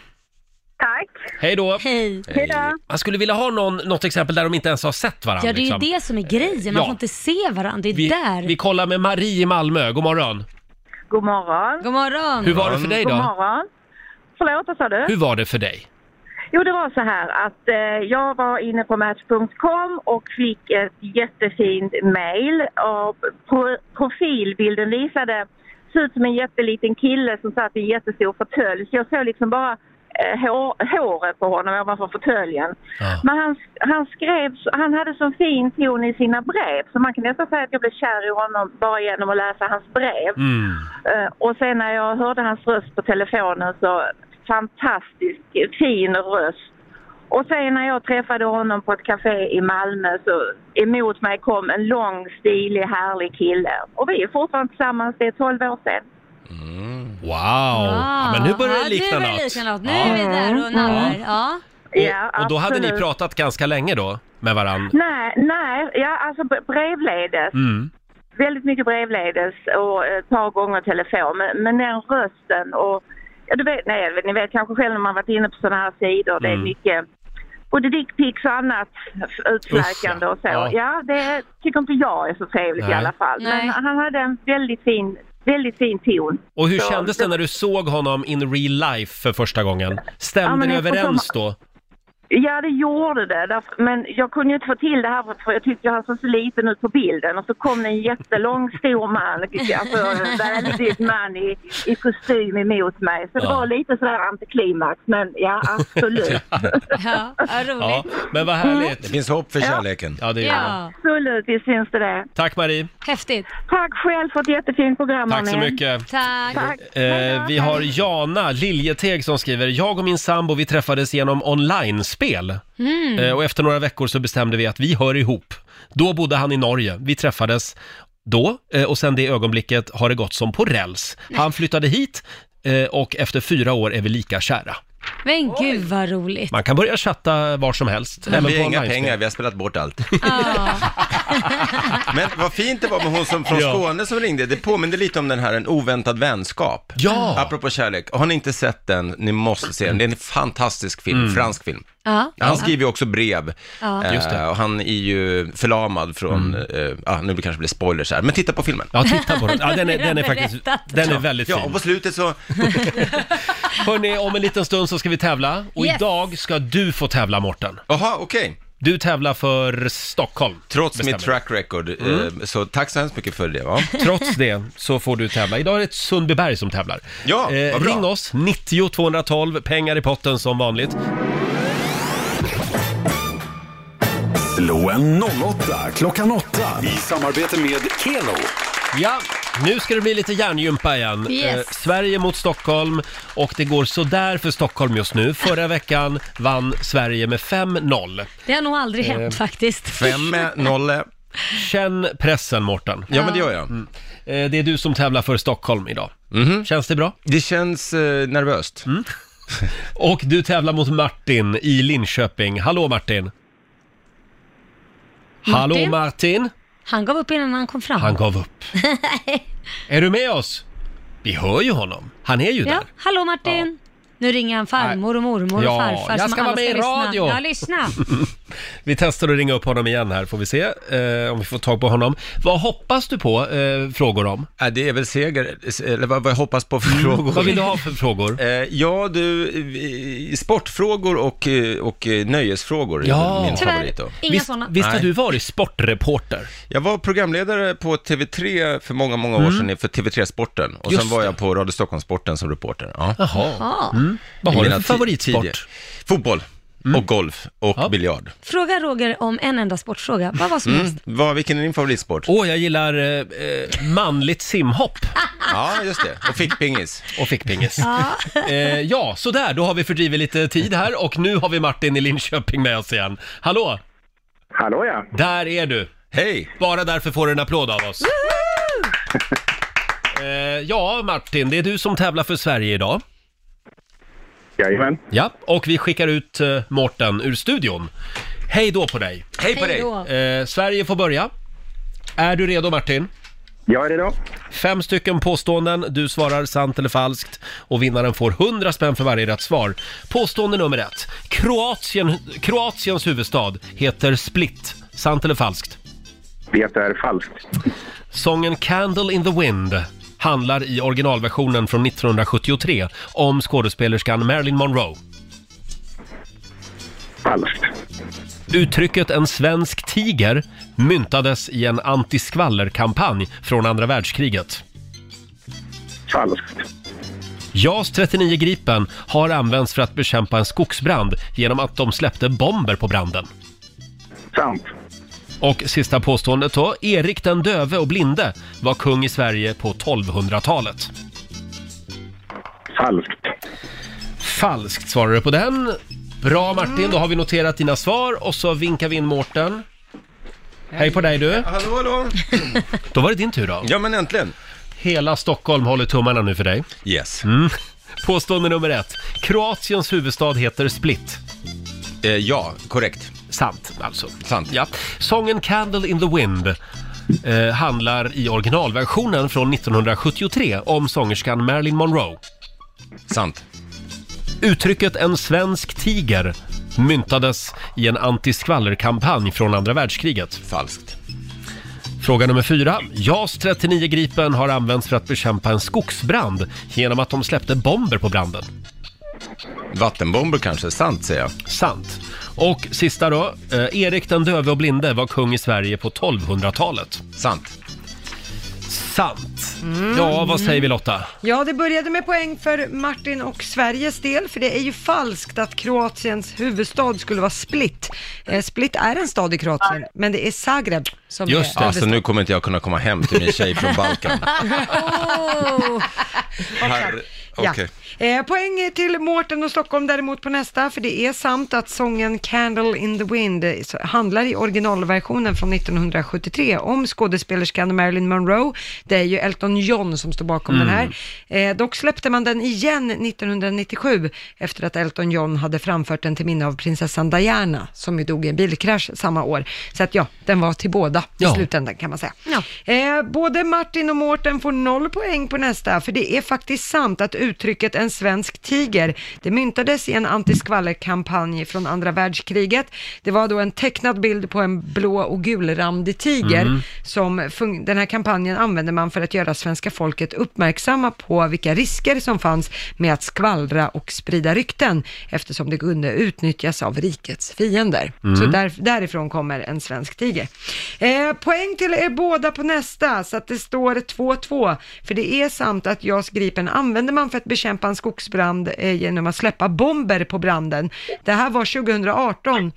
Speaker 6: Tack.
Speaker 1: Hej då!
Speaker 2: Hej. Hej då.
Speaker 1: Man skulle vilja ha någon, något exempel där de inte ens har sett varandra.
Speaker 2: Ja, det är ju
Speaker 1: liksom.
Speaker 2: det som är grejen. Man
Speaker 1: Ja.
Speaker 2: får inte se varandra. Det är
Speaker 1: vi,
Speaker 2: där.
Speaker 1: vi kollar med Marie i Malmö. God morgon.
Speaker 13: God morgon.
Speaker 2: God morgon.
Speaker 1: Hur var det för dig då?
Speaker 13: God morgon. Förlåt, vad sa du?
Speaker 1: Hur var det för dig?
Speaker 13: Jo, det var så här att eh, jag var inne på Match.com och fick ett jättefint mejl. Och Pro- profilbilden visade, såg ut som en jätteliten kille som satt i en jättestor fåtölj. Så jag såg liksom bara eh, hår, håret på honom ovanför fåtöljen. Men han, han skrev, så- han hade så fin ton i sina brev så man kan nästan säga att jag blev kär i honom bara genom att läsa hans brev.
Speaker 1: Mm.
Speaker 7: Mm.
Speaker 13: Eh, Och sen när jag hörde hans röst på telefonen så fantastisk fin röst. Och sen när jag träffade honom på ett café i Malmö så emot mig kom en lång, stilig, härlig kille. Och vi är fortfarande tillsammans, det är 12 år sedan.
Speaker 4: Mm.
Speaker 1: Wow! Ja, men nu börjar det likna
Speaker 2: nu börjar det
Speaker 1: något.
Speaker 2: likna något. Nu är vi där och nallar. Ja.
Speaker 1: Eh, Och, och då hade ni
Speaker 13: absolut.
Speaker 1: pratat ganska länge då med varann?
Speaker 13: Nej, nej, ja alltså b- brevledes.
Speaker 1: Mm.
Speaker 13: Väldigt mycket brevledes och ett par gånger telefon. Men, men den rösten och... Ja, du vet, nej, ni vet kanske själv när man varit inne på sådana här sidor. Det är
Speaker 5: Mm.
Speaker 13: mycket både dickpics och annat utsläkande och så.
Speaker 5: Ja.
Speaker 13: Ja. det tycker inte jag är så trevligt
Speaker 1: Nej.
Speaker 13: i alla fall. Men han hade en väldigt fin, väldigt fin ton.
Speaker 1: Och hur
Speaker 13: så,
Speaker 1: kändes det när du såg honom in real life för första gången? Stämde
Speaker 13: Ja, men
Speaker 1: ni
Speaker 13: eftersom-
Speaker 1: överens då?
Speaker 13: Ja, det gjorde det. Därför- Men jag kunde ju inte få till det här för jag tyckte han såg så liten ut på bilden. Och så kom det en jättelång, stor man, alltså en väldigt man i, i kostym emot mig. Så det
Speaker 1: Ja.
Speaker 13: var lite sådär antiklimax, men ja, absolut.
Speaker 2: ja,
Speaker 1: Ja, men vad härligt.
Speaker 14: Det finns hopp för kärleken.
Speaker 1: Ja, det gör det.
Speaker 13: Absolut, visst finns det det.
Speaker 1: Tack Marie.
Speaker 2: Häftigt.
Speaker 13: Tack själv för ett jättefint program,
Speaker 1: Tack så
Speaker 13: hörni.
Speaker 1: mycket.
Speaker 2: Tack.
Speaker 1: Eh, vi har Jana Liljeteg som skriver, jag och min sambo vi träffades genom online-spel.
Speaker 2: Mm.
Speaker 1: Eh, och efter några veckor så bestämde vi att vi hör ihop. Då bodde han i Norge, vi träffades då eh, och sen det ögonblicket har det gått som på räls. Han flyttade hit eh, och efter fyra år är vi lika kära.
Speaker 2: Men gud vad roligt.
Speaker 1: Man kan börja chatta var som helst.
Speaker 7: Men
Speaker 1: även
Speaker 7: vi
Speaker 1: på
Speaker 7: har inga
Speaker 1: online-spel.
Speaker 7: pengar, vi har spelat bort allt.
Speaker 2: Ja.
Speaker 7: Men vad fint det var med hon som, från
Speaker 1: Ja.
Speaker 7: Skåne som ringde. Det påminner lite om den här En oväntad vänskap.
Speaker 1: Ja!
Speaker 7: Apropå kärlek, har ni inte sett den, ni måste se den. Det är en fantastisk film,
Speaker 1: Mm.
Speaker 7: fransk film.
Speaker 2: Ja.
Speaker 7: Han skriver ju också brev.
Speaker 2: Ja.
Speaker 7: Eh,
Speaker 2: Just det.
Speaker 7: Och han är ju förlamad från, eh, ah, nu kanske det blir spoilers här, men titta på filmen.
Speaker 1: Mm. Ja, titta på den. Ja, den är- den är faktiskt- den är väldigt
Speaker 7: ja,
Speaker 1: fin.
Speaker 7: Ja, och på slutet så,
Speaker 1: Hörni, om en liten stund så ska vi tävla och
Speaker 7: Yes.
Speaker 1: idag ska du få tävla Morten.
Speaker 7: Jaha, okej.
Speaker 1: Du tävlar för Stockholm.
Speaker 7: trots
Speaker 1: bestämmer
Speaker 7: mitt track record, eh,
Speaker 1: Mm.
Speaker 7: så tack så hemskt mycket för det va.
Speaker 1: Trots det så får du tävla. Idag är det Sundbyberg som tävlar.
Speaker 7: Ja, vad bra.
Speaker 1: Eh, Ring oss, 90 212, pengar i potten som vanligt.
Speaker 4: Slå en 08 klockan 8 i samarbete med Keno.
Speaker 1: Ja, nu ska det bli lite hjärngympa igen. Eh,
Speaker 4: Yes.
Speaker 1: Sverige mot Stockholm och det går sådär för Stockholm just nu. Förra veckan vann Sverige med 5-0.
Speaker 2: Det har nog aldrig hänt
Speaker 1: Eh,
Speaker 2: faktiskt.
Speaker 1: Känn pressen, Mårten.
Speaker 7: Ja, men det gör jag. Mhm.
Speaker 1: Mm. Eh, Det är du som tävlar för Stockholm idag. Känns det bra? Mm.
Speaker 7: Det känns eh, nervöst.
Speaker 1: Och du tävlar mot Martin i Linköping. Hallå Martin! Hallå Martin!
Speaker 2: Han gav upp innan han kom fram.
Speaker 1: Han gav upp. Är du med oss? Vi hör ju honom. Han är ju
Speaker 2: ja.
Speaker 1: där.
Speaker 2: Hallå Martin. Nu ringer han farmor och mormor
Speaker 1: Ja,
Speaker 2: och farfar.
Speaker 1: jag
Speaker 2: som
Speaker 1: ska
Speaker 2: alla
Speaker 1: vara med i radio.
Speaker 2: Lyssna. Ja, lyssna.
Speaker 1: Vi testar att ringa upp honom igen här, får vi se eh, om vi får tag på honom. Vad hoppas du på eh, frågor om? Mm.
Speaker 7: Ja, det är väl seger, eller vad, vad jag hoppas på för frågor.
Speaker 1: Vad vill du ha för frågor?
Speaker 7: Eh, ja, du, eh, sportfrågor och, eh, och eh, nöjesfrågor är
Speaker 1: Ja.
Speaker 7: väl min
Speaker 1: Tyvärr,
Speaker 7: favorit då.
Speaker 1: inga Visst- såna. visst har du varit sportreporter?
Speaker 7: Jag var programledare på TV3 för många, många år
Speaker 1: Mm.
Speaker 7: sedan för TV3 Sporten och
Speaker 1: Just
Speaker 7: sen var
Speaker 1: det.
Speaker 7: jag på Radio Stockholm Sporten som reporter. Ja.
Speaker 1: Jaha. Mm. Vad
Speaker 7: I
Speaker 1: har du
Speaker 7: mina
Speaker 1: för
Speaker 7: ti-
Speaker 1: favoritsport? Mm.
Speaker 7: tidiga- Fotboll och golf och biljard.
Speaker 2: Fråga Roger om en enda sportfråga. Vad var som
Speaker 7: Mm.
Speaker 2: helst.
Speaker 7: Vad, vilken är din favoritsport?
Speaker 1: Åh, jag gillar eh, eh, manligt simhopp.
Speaker 7: Ja, just det. Och fick pingis.
Speaker 1: Och fick pingis.
Speaker 2: Ja.
Speaker 1: eh, ja, sådär, då har vi fördrivit lite tid här och nu har vi Martin i Linköping med oss igen. Hallå!
Speaker 15: Hallå ja!
Speaker 1: Där är du!
Speaker 7: Hej!
Speaker 1: Bara därför får du en applåd av oss. Eh, ja, Martin, det är du som tävlar för Sverige idag.
Speaker 15: Jajamän.
Speaker 1: Ja, och vi skickar ut eh, Mårten ur studion. Hej då på dig!
Speaker 7: Hej
Speaker 2: på Hej dig. då.
Speaker 1: Eh, Sverige får börja. Är du redo Martin?
Speaker 15: Jag är redo.
Speaker 1: Fem stycken påståenden, du svarar sant eller falskt och vinnaren får 100 spänn för varje rätt svar. Påstående nummer ett. Kroatien, Kroatiens huvudstad heter Split. Sant eller falskt?
Speaker 15: Det är falskt.
Speaker 1: Sången Candle in the Wind handlar i originalversionen från 1973 om skådespelerskan Marilyn Monroe.
Speaker 15: Falskt.
Speaker 1: Uttrycket en svensk tiger myntades i en antiskvallerkampanj från andra världskriget.
Speaker 15: Falskt.
Speaker 1: JAS 39 Gripen har använts för att bekämpa en skogsbrand genom att de släppte bomber på branden.
Speaker 15: Sant.
Speaker 1: Och sista påståendet då. Erik den döve och blinde var kung i Sverige på 1200-talet.
Speaker 15: Falskt.
Speaker 1: Falskt svarar du på den. Bra Martin, då har vi noterat dina svar och så vinkar vi in Mårten. Hej på dig du.
Speaker 7: Hallå, hallå.
Speaker 1: Då var det din tur då.
Speaker 7: Ja, men äntligen.
Speaker 1: Hela Stockholm håller tummarna nu för dig.
Speaker 7: Yes.
Speaker 1: Mm. Påstående nummer ett. Kroatiens huvudstad heter Split.
Speaker 7: Eh, ja, korrekt.
Speaker 1: Sant, alltså.
Speaker 7: Sant.
Speaker 1: Ja. Sången Candle in the Wind eh, handlar i originalversionen från 1973 om sångerskan Marilyn Monroe.
Speaker 7: Sant.
Speaker 1: Uttrycket en svensk tiger myntades i en antiskvallerkampanj från andra världskriget.
Speaker 7: Falskt.
Speaker 1: Fråga nummer fyra. JAS 39 Gripen har använts för att bekämpa en skogsbrand genom att de släppte bomber på branden.
Speaker 7: Vattenbomber kanske, sant säger jag.
Speaker 1: Sant. Och sista då. Eh, Erik den döve och blinde var kung i Sverige på 1200-talet.
Speaker 7: Sant.
Speaker 1: Sant. Ja, vad säger vi Lotta?
Speaker 3: Ja, det började med poäng för Martin och Sveriges del, för det är ju falskt att Kroatiens huvudstad skulle vara Split. Eh, Split är en stad i Kroatien, men det är Zagreb som
Speaker 7: Just
Speaker 3: är
Speaker 7: det. Alltså nu kommer inte jag kunna komma hem till min tjej från Balkan.
Speaker 3: Åh!
Speaker 7: Här... Okej.
Speaker 3: Ja. Eh, poäng till Mårten och Stockholm däremot på nästa, för det är sant att sången Candle in the Wind eh, så- handlar i originalversionen från 1973 om skådespelerskan Marilyn Monroe. Det är ju Elton John som står bakom
Speaker 5: Mm.
Speaker 3: den här. Eh, dock släppte man den igen 1997 efter att Elton John hade framfört den till minne av prinsessan Diana, som ju dog i en bilkrasch samma år. Så att ja, den var till båda
Speaker 5: Ja.
Speaker 3: i slutändan kan man säga. Eh, både Martin och Mårten får noll poäng på nästa, för det är faktiskt sant att uttrycket en svensk tiger, det myntades i en antiskvallerkampanj från andra världskriget. Det var då en tecknad bild på en blå och gulrandig tiger
Speaker 5: Mm.
Speaker 3: som fun- den här kampanjen använde man för att göra svenska folket uppmärksamma på vilka risker som fanns med att skvallra och sprida rykten eftersom det kunde utnyttjas av rikets fiender.
Speaker 5: Mm.
Speaker 3: Så där, därifrån kommer en svensk tiger. Eh, poäng till er båda på nästa så att det står 2-2 för det är sant att JAS Gripen använde man för att bekämpa en skogsbrand eh, genom att släppa bomber på branden. Det här var 2018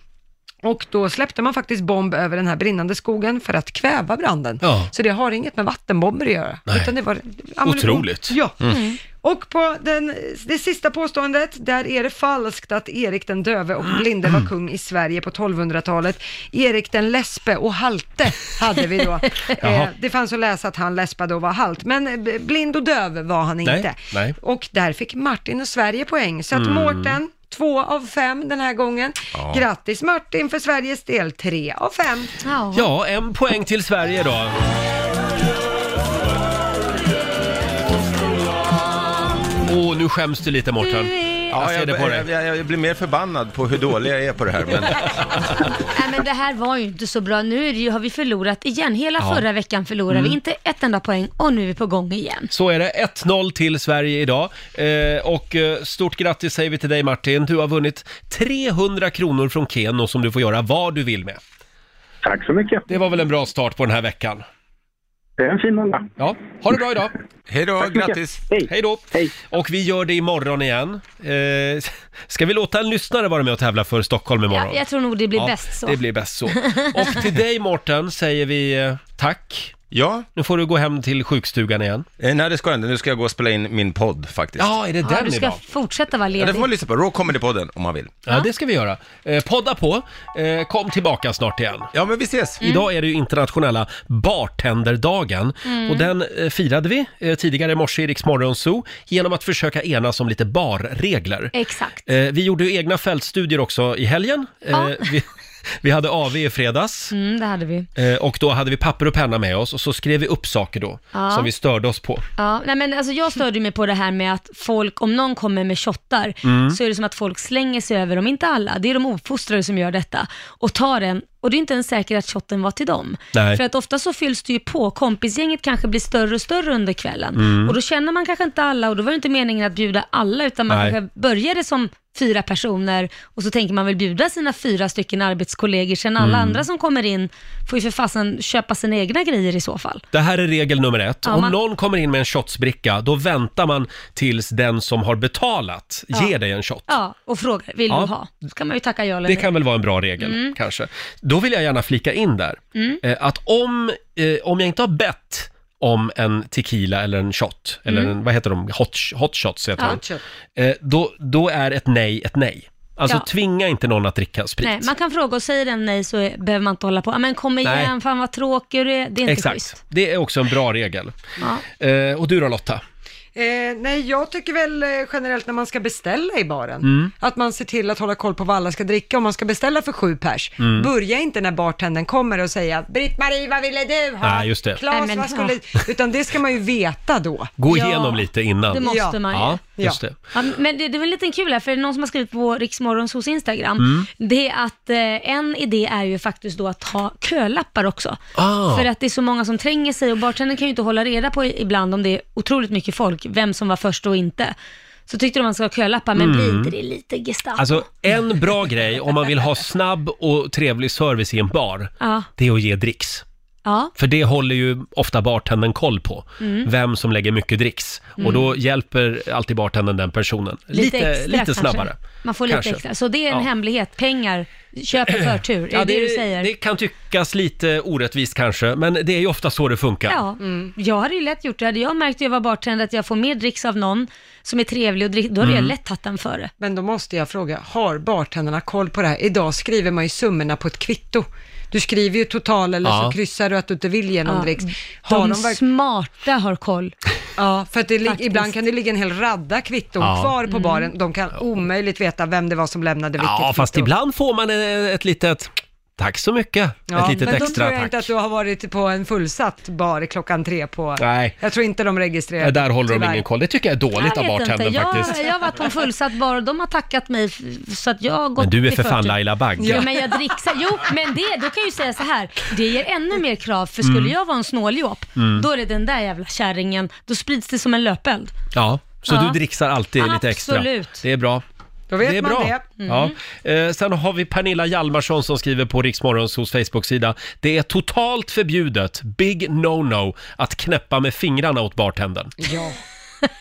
Speaker 3: och då släppte man faktiskt bomb över den här brinnande skogen för att kväva branden.
Speaker 5: Ja.
Speaker 3: Så det har inget med vattenbomber att göra.
Speaker 5: Nej.
Speaker 3: Utan det var,
Speaker 5: Otroligt.
Speaker 3: Ja.
Speaker 5: Mm.
Speaker 3: Och på den, det sista påståendet, där är det falskt att Erik den döve och blinde var kung i Sverige på 1200-talet. Erik den läspe och halte hade vi då.
Speaker 5: Jaha.
Speaker 3: eh, det fanns att läsa att han läspade och var halt, men eh, blind och döv var han
Speaker 5: Nej,
Speaker 3: inte.
Speaker 5: nej.
Speaker 3: Och där fick Martin och Sverige poäng, så att
Speaker 5: Mm.
Speaker 3: Mårten, två av fem den här gången.
Speaker 1: Ja.
Speaker 3: Grattis Martin för Sveriges del, tre av fem.
Speaker 1: Ja, en poäng till Sverige då. Åh, nu skäms du lite Mårten.
Speaker 7: Ja,
Speaker 1: Jag ser
Speaker 7: jag,
Speaker 1: det på dig.
Speaker 7: jag, jag, jag blir mer förbannad på hur dålig jag är på det här. Men...
Speaker 2: Nej men det här var ju inte så bra. Nu är det ju, har vi förlorat igen. Hela
Speaker 1: Ja.
Speaker 2: förra veckan förlorade
Speaker 1: Mm.
Speaker 2: vi inte ett enda poäng och nu är vi på gång igen.
Speaker 1: Så är det, 1-0 till Sverige idag. Eh, och eh, stort grattis säger vi till dig Martin. Du har vunnit 300 kronor från Keno som du får göra vad du vill med.
Speaker 15: Tack så mycket.
Speaker 1: Det var väl en bra start på den här veckan?
Speaker 15: Det är en fin måndag.
Speaker 1: Ja, ha det bra idag!
Speaker 7: Hej då,
Speaker 1: Tack så mycket. grattis. Hej då! Och vi gör det imorgon igen. Eh, ska vi låta en lyssnare vara med och tävla för Stockholm imorgon?
Speaker 2: Ja, jag tror nog det blir bäst så.
Speaker 1: Det blir bäst så. Och till dig Morten säger vi eh, tack.
Speaker 7: Ja.
Speaker 1: Nu får du gå hem till sjukstugan igen.
Speaker 7: Eh, Nej, det ska jag inte. Nu ska jag gå och spela in min podd faktiskt.
Speaker 1: Ja, är det den
Speaker 2: du ska
Speaker 1: idag?
Speaker 2: fortsätta vara
Speaker 7: Ja, det
Speaker 2: ledig.
Speaker 7: får man lyssna på. Raw Comedy-podden om man vill.
Speaker 1: Ja, det ska vi göra. Eh, podda på. Eh, kom tillbaka snart igen.
Speaker 7: Ja, men vi ses.
Speaker 2: Mm.
Speaker 1: Idag är det ju internationella bartenderdagen
Speaker 2: Mm.
Speaker 1: och den eh, firade vi eh, tidigare i morse i Rix Morgon Zoo genom att försöka enas om lite barregler.
Speaker 2: Exakt.
Speaker 1: Eh, vi gjorde ju egna fältstudier också i helgen. Eh,
Speaker 2: Ja.
Speaker 1: vi, Vi hade AV i fredags.
Speaker 2: Mm, det hade vi.
Speaker 1: Eh, Och då hade vi papper och penna med oss och så skrev vi upp saker då
Speaker 2: Ja.
Speaker 1: som vi störde oss på.
Speaker 2: Ja, nej men alltså jag störde mig på det här med att folk, om någon kommer med shottar,
Speaker 1: Mm.
Speaker 2: så är det som att folk slänger sig över dem, inte alla, det är de ofostrade som gör detta, och tar en, och det är inte ens säkert att shotten var till dem.
Speaker 5: Nej.
Speaker 2: För att ofta så fylls det ju på, kompisgänget kanske blir större och större under kvällen,
Speaker 5: Mm.
Speaker 2: och då känner man kanske inte alla, och då var det inte meningen att bjuda alla, utan man
Speaker 5: Nej.
Speaker 2: kanske började som fyra personer, och så tänker man väl bjuda sina fyra stycken arbetskollegor, sen alla
Speaker 1: Mm.
Speaker 2: andra som kommer in får ju för fasen köpa sina egna grejer i så fall.
Speaker 1: Det här är regel nummer ett.
Speaker 2: Ja,
Speaker 1: Om
Speaker 2: man-
Speaker 1: någon kommer in med en shotsbricka, då väntar man tills den som har betalat
Speaker 2: Ja.
Speaker 1: ger dig en shot.
Speaker 2: Ja, och frågar, vill
Speaker 1: Ja.
Speaker 2: du ha? Då kan man ju tacka ja eller
Speaker 1: Det
Speaker 2: nej.
Speaker 1: kan väl vara en bra regel,
Speaker 2: Mm.
Speaker 1: kanske. Då vill jag gärna flika in där,
Speaker 2: Mm.
Speaker 1: eh, att om, eh, om jag inte har bett om en tequila eller en shot, eller
Speaker 2: Mm.
Speaker 1: en, vad heter de, hot, hot shots heter
Speaker 2: Ja.
Speaker 1: de. Eh, då, då är ett nej ett nej. Alltså
Speaker 2: Ja.
Speaker 1: tvinga inte någon att dricka sprit.
Speaker 2: Nej, man kan fråga och säger den nej så är, behöver man inte hålla på. "Ah, Men kom igen,
Speaker 1: Nej.
Speaker 2: fan vad tråkig du är. Det är inte
Speaker 1: Exakt,
Speaker 2: schysst.
Speaker 1: det är också en bra regel.
Speaker 2: Ja.
Speaker 1: Eh, och du då Lotta?
Speaker 3: Eh, nej, jag tycker väl eh, generellt när man ska beställa i baren,
Speaker 1: Mm.
Speaker 3: att man ser till att hålla koll på vad alla ska dricka. Om man ska beställa för sju pers,
Speaker 1: Mm.
Speaker 3: börja inte när bartendern kommer och säga Britt-Marie, vad ville du ha?
Speaker 1: Nej, just det.
Speaker 3: Claes,
Speaker 1: Nej, men-
Speaker 3: vad skulle... Utan det ska man ju veta då.
Speaker 1: Gå igenom lite innan.
Speaker 2: det måste man ju.
Speaker 1: Ja, just det.
Speaker 2: Ja, men det, det är väl en liten kul här, för det är någon som har skrivit på Riksmorgons hos Instagram,
Speaker 1: Mm.
Speaker 2: det är att eh, en idé är ju faktiskt då att ha kölappar också.
Speaker 5: Ah.
Speaker 2: För att det är så många som tränger sig och bartendern kan ju inte hålla reda på i- ibland om det är otroligt mycket folk, vem som var först och inte. Så tyckte de man ska ha kölappar, men
Speaker 1: Mm.
Speaker 2: blir inte det lite Gestapo?
Speaker 1: Alltså en bra grej om man vill ha snabb och trevlig service i en bar,
Speaker 2: ja.
Speaker 1: det är att ge dricks.
Speaker 2: ja.
Speaker 1: För det håller ju ofta bartendern koll på,
Speaker 2: Mm.
Speaker 1: vem som lägger mycket dricks.
Speaker 2: Mm.
Speaker 1: Och då hjälper alltid bartendern den personen. Lite, lite,
Speaker 2: kanske.
Speaker 1: snabbare.
Speaker 2: Man får lite
Speaker 1: Kanske.
Speaker 2: extra. Så det är en
Speaker 1: Ja.
Speaker 2: hemlighet. Pengar, köp i förtur. Är
Speaker 1: Ja,
Speaker 2: det, det du säger?
Speaker 1: det kan tyckas lite orättvist kanske, men det är ju ofta så det funkar.
Speaker 2: Ja,
Speaker 1: Mm.
Speaker 2: jag hade ju lätt gjort det. Hade jag märkt att jag var bartender att jag får mer dricks av någon som är trevlig och drick, då hade
Speaker 3: Mm.
Speaker 2: jag lätt tagit den före.
Speaker 3: Men då måste jag fråga, har bartenderna koll på det här? Idag skriver man ju summorna på ett kvitto. Du skriver ju total eller
Speaker 2: Ja.
Speaker 3: så kryssar du att du inte vill ge någon
Speaker 2: Ja.
Speaker 3: dricks.
Speaker 2: de
Speaker 3: verk-
Speaker 2: smarta har koll.
Speaker 3: Ja, för att det lig-
Speaker 2: Faktiskt.
Speaker 3: ibland kan det ligga en hel radda kvitton
Speaker 1: Ja.
Speaker 3: kvar på
Speaker 1: Mm.
Speaker 3: baren. De kan omöjligt veta vem det var som lämnade vilket
Speaker 1: Ja,
Speaker 3: kvitto.
Speaker 1: fast ibland får man eh, ett litet tack så mycket.
Speaker 3: Ja,
Speaker 1: ett litet
Speaker 3: men då
Speaker 1: extra
Speaker 3: tror jag
Speaker 1: tack.
Speaker 3: inte att du har varit på en fullsatt bar klockan tre på...
Speaker 1: Nej.
Speaker 3: Jag tror inte de registrerar.
Speaker 1: Eh, Där håller de
Speaker 3: tyvärr.
Speaker 1: ingen koll. Det tycker jag är dåligt av
Speaker 2: jag vet inte.
Speaker 1: bartendern faktiskt.
Speaker 2: Jag, jag har varit på en fullsatt bar och de har tackat mig f- så att jag har gått
Speaker 1: Men du är
Speaker 2: i
Speaker 1: för fan
Speaker 2: förtur.
Speaker 1: Laila Bagge.
Speaker 2: Ja, men jag dricksar. Jo, men det, då kan jag ju säga så här. Det ger ännu mer krav, för
Speaker 1: Mm.
Speaker 2: skulle jag vara en snåljåp,
Speaker 1: Mm.
Speaker 2: då är det den där jävla kärringen, då sprids det som en löpeld.
Speaker 1: Ja, så
Speaker 2: Ja.
Speaker 1: du dricksar alltid lite extra.
Speaker 2: Absolut.
Speaker 1: Det är bra.
Speaker 3: Då vet
Speaker 1: det är
Speaker 3: man
Speaker 1: bra.
Speaker 3: det. Mm.
Speaker 1: Ja. Eh, sen har vi Pernilla Hjalmarsson som skriver på Riksmorgons hos Facebook-sida. Det är totalt förbjudet, big no-no, att knäppa med fingrarna åt bartendern.
Speaker 3: Ja.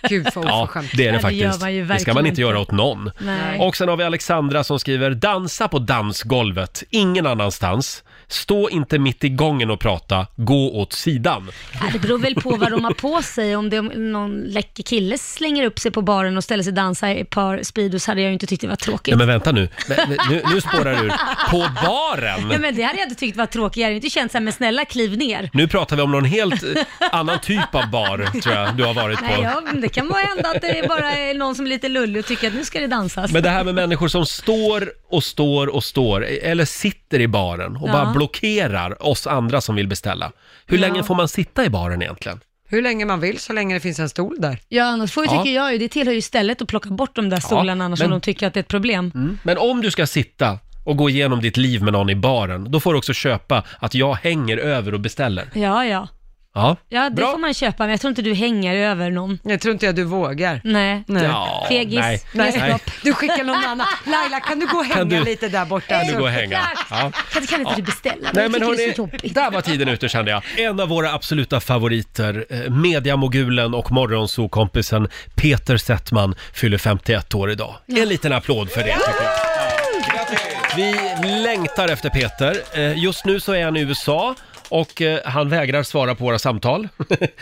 Speaker 3: Gud vad
Speaker 1: Ja,
Speaker 3: oförskämt.
Speaker 1: det är det faktiskt. Det ska man inte göra åt någon.
Speaker 3: Nej.
Speaker 1: Och sen har vi Alexandra som skriver “Dansa på dansgolvet, ingen annanstans. Stå inte mitt i gången och prata, gå åt sidan.”
Speaker 2: Ja, Äh, Det beror väl på vad de har på sig. Om det är någon läcker kille slänger upp sig på baren och ställer sig och dansar i ett par Speedos hade jag ju inte tyckt det var tråkigt.
Speaker 1: Nej men vänta nu, Men, nu, nu spårar du ur. På baren?
Speaker 2: Ja, men det hade jag inte tyckt var tråkigt. Jag hade ju inte känt såhär, men snälla kliv ner.
Speaker 1: Nu pratar vi om någon helt eh, annan typ av bar, tror jag du har varit på.
Speaker 2: Nej, ja, men det kan vara hända att det bara är någon som är lite lullig och tycker att nu ska det dansas.
Speaker 1: Men det här med människor som står och står och står, eller sitter i baren och
Speaker 2: Ja.
Speaker 1: bara blockerar oss andra som vill beställa. Hur
Speaker 2: Ja.
Speaker 1: länge får man sitta i baren egentligen?
Speaker 3: Hur länge man vill, så länge det finns en stol där.
Speaker 2: Ja, annars får ju,
Speaker 1: Ja.
Speaker 2: tycker jag ju, det tillhör ju stället att plocka bort de där stolarna annars
Speaker 1: men-
Speaker 2: om de tycker att det är ett problem.
Speaker 1: Mm. Men om du ska sitta och gå igenom ditt liv med någon i baren, då får du också köpa att jag hänger över och beställer.
Speaker 2: Ja, ja.
Speaker 1: Ja,
Speaker 2: Ja, det
Speaker 1: bra.
Speaker 2: får man köpa, men jag tror inte du hänger över någon.
Speaker 3: Jag tror inte jag du vågar.
Speaker 2: Nej.
Speaker 3: Nej.
Speaker 1: Ja,
Speaker 2: Fegis.
Speaker 1: nej.
Speaker 2: Nej.
Speaker 1: Nej.
Speaker 3: Du skickar någon annan. Laila, kan du gå och hänga
Speaker 1: Kan du-
Speaker 3: lite där borta?
Speaker 1: Kan du gå och hänga? Ja.
Speaker 2: Kan, kan inte
Speaker 1: Ja.
Speaker 2: du beställa?
Speaker 1: Nej, men
Speaker 2: jag tycker det är
Speaker 1: hörni,
Speaker 2: så jobbigt.
Speaker 1: där var tiden ute kände jag. En av våra absoluta favoriter, eh, mediamogulen och morgonsokompisen Peter Settman fyller 51 år idag. En liten applåd för det tycker jag. Vi längtar efter Peter. Eh, Just nu så är han i USA och eh, han vägrar svara på våra samtal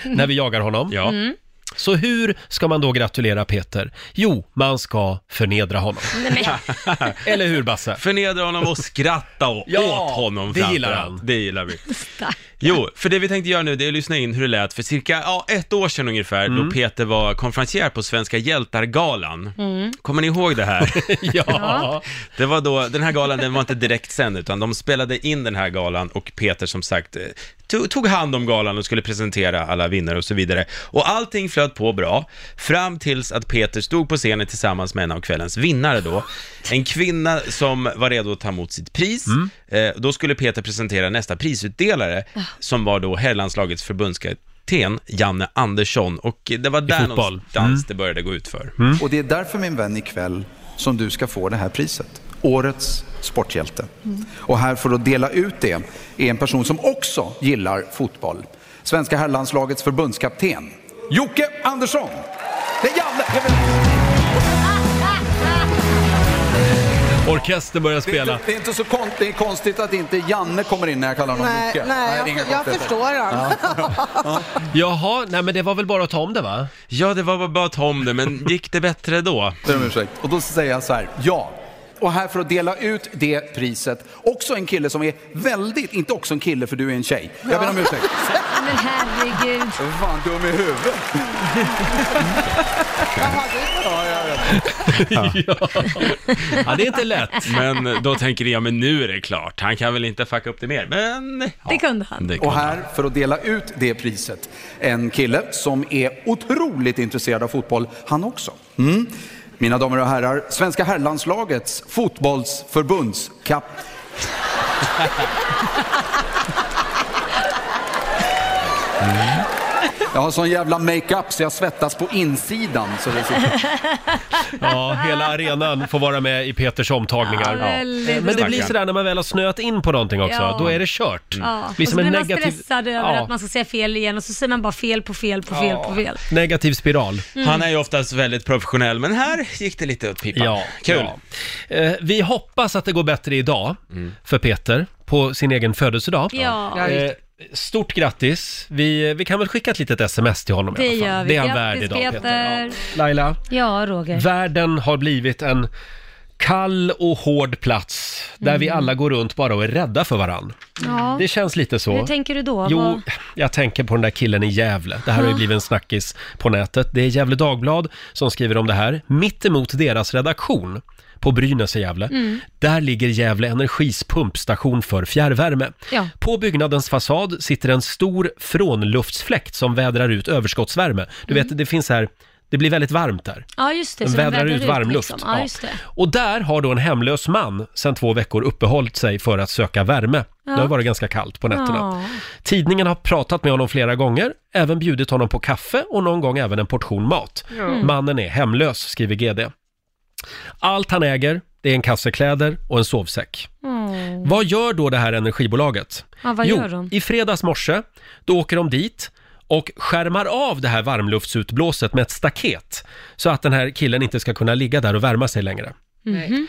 Speaker 1: när vi jagar honom.
Speaker 2: Mm.
Speaker 1: Så hur ska man då gratulera Peter? Jo, man ska förnedra honom. Eller hur Basse?
Speaker 9: Förnedra honom och skratta och åt honom
Speaker 1: det
Speaker 9: framför
Speaker 1: gillar
Speaker 9: allt.
Speaker 1: han.
Speaker 9: Det gillar vi. Jo, för det vi tänkte göra nu det är att lyssna in hur det lät för cirka ja, ett år sedan ungefär
Speaker 1: Mm.
Speaker 9: då Peter var konferencier på Svenska hjältargalan.
Speaker 5: Mm.
Speaker 9: Kommer ni ihåg det här?
Speaker 5: Ja.
Speaker 9: Det var då, den här galan den var inte direkt sänd utan de spelade in den här galan och Peter som sagt eh, tog, tog hand om galan och skulle presentera alla vinnare och så vidare. Och allting flöt på bra fram tills att Peter stod på scenen tillsammans med en av kvällens vinnare då. En kvinna som var redo att ta emot sitt pris. Eh, då skulle Peter presentera nästa prisutdelare som var då herrlandslagets förbundskapten Janne Andersson och eh, det var där
Speaker 14: fotboll.
Speaker 9: någonstans det började gå ut för.
Speaker 14: Och det är därför min vän ikväll som du ska få det här priset. Årets sporthjälte.
Speaker 5: Mm.
Speaker 14: Och här för att dela ut det är en person som också gillar fotboll. Svenska herrlandslagets förbundskapten Jocke Andersson. Det är Janne! Jag vet-
Speaker 1: Orkestern börjar
Speaker 14: Det är
Speaker 1: spela.
Speaker 14: inte, det är inte så kon- det är konstigt att inte Janne kommer in när jag kallar honom
Speaker 10: Nej,
Speaker 14: Jocke.
Speaker 10: nej,
Speaker 14: det är
Speaker 10: jag-
Speaker 14: inga
Speaker 10: jag
Speaker 14: konstigheter.
Speaker 10: förstår honom.
Speaker 1: Jaha, nej men det var väl bara att ta om det va?
Speaker 9: Ja, det var bara att ta om det, men gick det bättre då?
Speaker 14: Ber om ursäkt. Och då säger jag så här, ja. Och här för att dela ut det priset, också en kille som är väldigt, inte också en kille för du är en tjej. Jag ber om ursäkt.
Speaker 5: Men herregud.
Speaker 14: Fan, dum i huvudet.
Speaker 9: Ja.
Speaker 1: det är inte lätt.
Speaker 9: Men då tänker jag, men nu är det klart. Han kan väl inte fucka upp det mer. Men...
Speaker 2: Det kunde han.
Speaker 14: Och här för att dela ut det priset, en kille som är otroligt intresserad av fotboll, han också. Mm. Mina damer och herrar, svenska herrlandslagets fotbollsförbundskap... Mm. Jag har sån jävla makeup så jag svettas på insidan. Så det sitter...
Speaker 1: Ja, hela arenan får vara med i Peters omtagningar. Eh,
Speaker 2: Ja, väldigt
Speaker 1: Men det blir
Speaker 2: roligt.
Speaker 1: sådär när man väl har snöat in på någonting också,
Speaker 2: Ja.
Speaker 1: då är det kört. Det
Speaker 2: Ja.
Speaker 1: blir
Speaker 2: Mm. och
Speaker 1: som
Speaker 2: så blir
Speaker 1: Liksom en
Speaker 2: man
Speaker 1: negativ...
Speaker 2: stressad över
Speaker 1: Ja.
Speaker 2: att man ska säga fel igen och så säger man bara fel på fel på fel på fel.
Speaker 1: Negativ spiral.
Speaker 2: Mm. Han
Speaker 9: är ju oftast väldigt professionell, men här gick det lite upp pipan.
Speaker 1: Ja,
Speaker 9: Kul.
Speaker 1: ja. Eh, Vi hoppas att det går bättre idag
Speaker 9: Mm.
Speaker 1: för Peter på sin egen födelsedag.
Speaker 2: Ja.
Speaker 1: Eh, Stort grattis. Vi, vi kan väl skicka ett litet sms till honom i
Speaker 2: Det
Speaker 1: alla fall.
Speaker 2: gör vi.
Speaker 1: Det är han värd
Speaker 2: Grattis
Speaker 1: idag,
Speaker 2: Peter.
Speaker 1: Peter. Laila,
Speaker 2: Ja, Roger.
Speaker 1: världen har blivit en kall och hård plats där
Speaker 2: Mm.
Speaker 1: vi alla går runt bara och är rädda för varann.
Speaker 2: Ja.
Speaker 1: Det känns lite så.
Speaker 2: Hur tänker du då?
Speaker 1: Jo,
Speaker 2: Vad-
Speaker 1: jag tänker på den där killen i Gävle. Det här har ju
Speaker 2: Ja.
Speaker 1: blivit en snackis på nätet. Det är Gävle Dagblad som skriver om det här. Mitt emot deras redaktion på Brynäs i Gävle,
Speaker 5: Mm.
Speaker 1: där ligger Gävle Energis pumpstation för fjärrvärme.
Speaker 5: Ja.
Speaker 1: På byggnadens fasad sitter en stor frånluftsfläkt som vädrar ut överskottsvärme. Du
Speaker 2: Mm.
Speaker 1: vet, det finns här, det blir väldigt varmt där.
Speaker 2: Ja, just det.
Speaker 1: Den
Speaker 2: så
Speaker 1: vädrar ut varmluft.
Speaker 2: Liksom. Ja,
Speaker 1: Ja.
Speaker 2: just det.
Speaker 1: Och där har då en hemlös man sedan två veckor uppehållit sig för att söka värme. Det har
Speaker 2: Ja.
Speaker 1: varit ganska kallt på nätterna.
Speaker 2: Ja.
Speaker 1: Tidningen har pratat med honom flera gånger, även bjudit honom på kaffe och någon gång även en portion mat.
Speaker 5: Mm.
Speaker 1: Mannen är hemlös, skriver GD. Allt han äger, det är en kasse kläder och en sovsäck.
Speaker 2: Mm.
Speaker 1: Vad gör då det här energibolaget?
Speaker 2: Ja, vad
Speaker 1: jo,
Speaker 2: gör de?
Speaker 1: i fredags morse, då åker de dit och skärmar av det här varmluftsutblåset med ett staket så att den här killen inte ska kunna ligga där och värma sig längre.
Speaker 2: Mhm.
Speaker 3: Nej.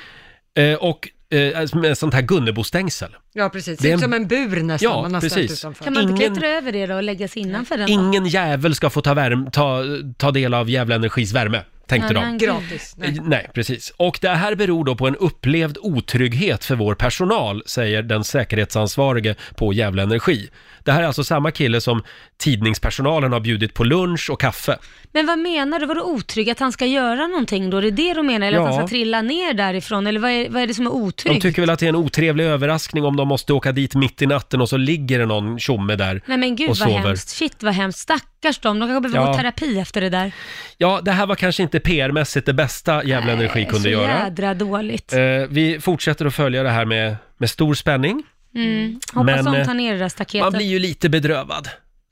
Speaker 1: Eh, och eh, alltså med sånt här Gunnebostängsel.
Speaker 3: Ja, precis.
Speaker 1: Det
Speaker 3: Det
Speaker 1: är
Speaker 3: är
Speaker 1: en-
Speaker 3: som en bur nästan
Speaker 1: Ja,
Speaker 3: man har ställt
Speaker 1: precis.
Speaker 3: utanför.
Speaker 2: Kan man inte
Speaker 1: Ingen-
Speaker 2: klättra över det då och lägga sig innanför den? då?
Speaker 1: Ingen jävel ska få ta, värm, ta, ta del av Gävle Energis värme, tänkte
Speaker 2: Nej,
Speaker 1: de.
Speaker 2: men-
Speaker 3: Gratis. Nej.
Speaker 1: Eh, Nej, precis. Och det här beror då på en upplevd otrygghet för vår personal, säger den säkerhetsansvarige på Gävle Energi. Det här är alltså samma kille som tidningspersonalen har bjudit på lunch och kaffe.
Speaker 2: Men vad menar du? Var du otrygg att han ska göra någonting då? Är det det du menar? Eller att
Speaker 1: Ja.
Speaker 2: han ska trilla ner därifrån? Eller vad är, vad är det som är
Speaker 1: De
Speaker 2: otryggt?
Speaker 1: tycker väl att det är en otrevlig överraskning om de måste åka dit mitt i natten och så ligger det någon tjomme där
Speaker 2: Nej men gud
Speaker 1: och
Speaker 2: vad
Speaker 1: sover.
Speaker 2: hemskt. Shit vad hemskt. Stackars dem. De kanske behöver
Speaker 1: Ja.
Speaker 2: gå i terapi efter det där.
Speaker 1: Ja, det här var kanske inte PR-mässigt det bästa Gävle Energi
Speaker 2: Det är så
Speaker 1: kunde göra.
Speaker 2: jädra dåligt.
Speaker 1: Eh, vi fortsätter att följa det här med, med stor spänning.
Speaker 2: Mm. Hoppas
Speaker 1: Men,
Speaker 2: de
Speaker 1: eh,
Speaker 2: tar ner det där staketet.
Speaker 1: Man blir ju lite bedrövad.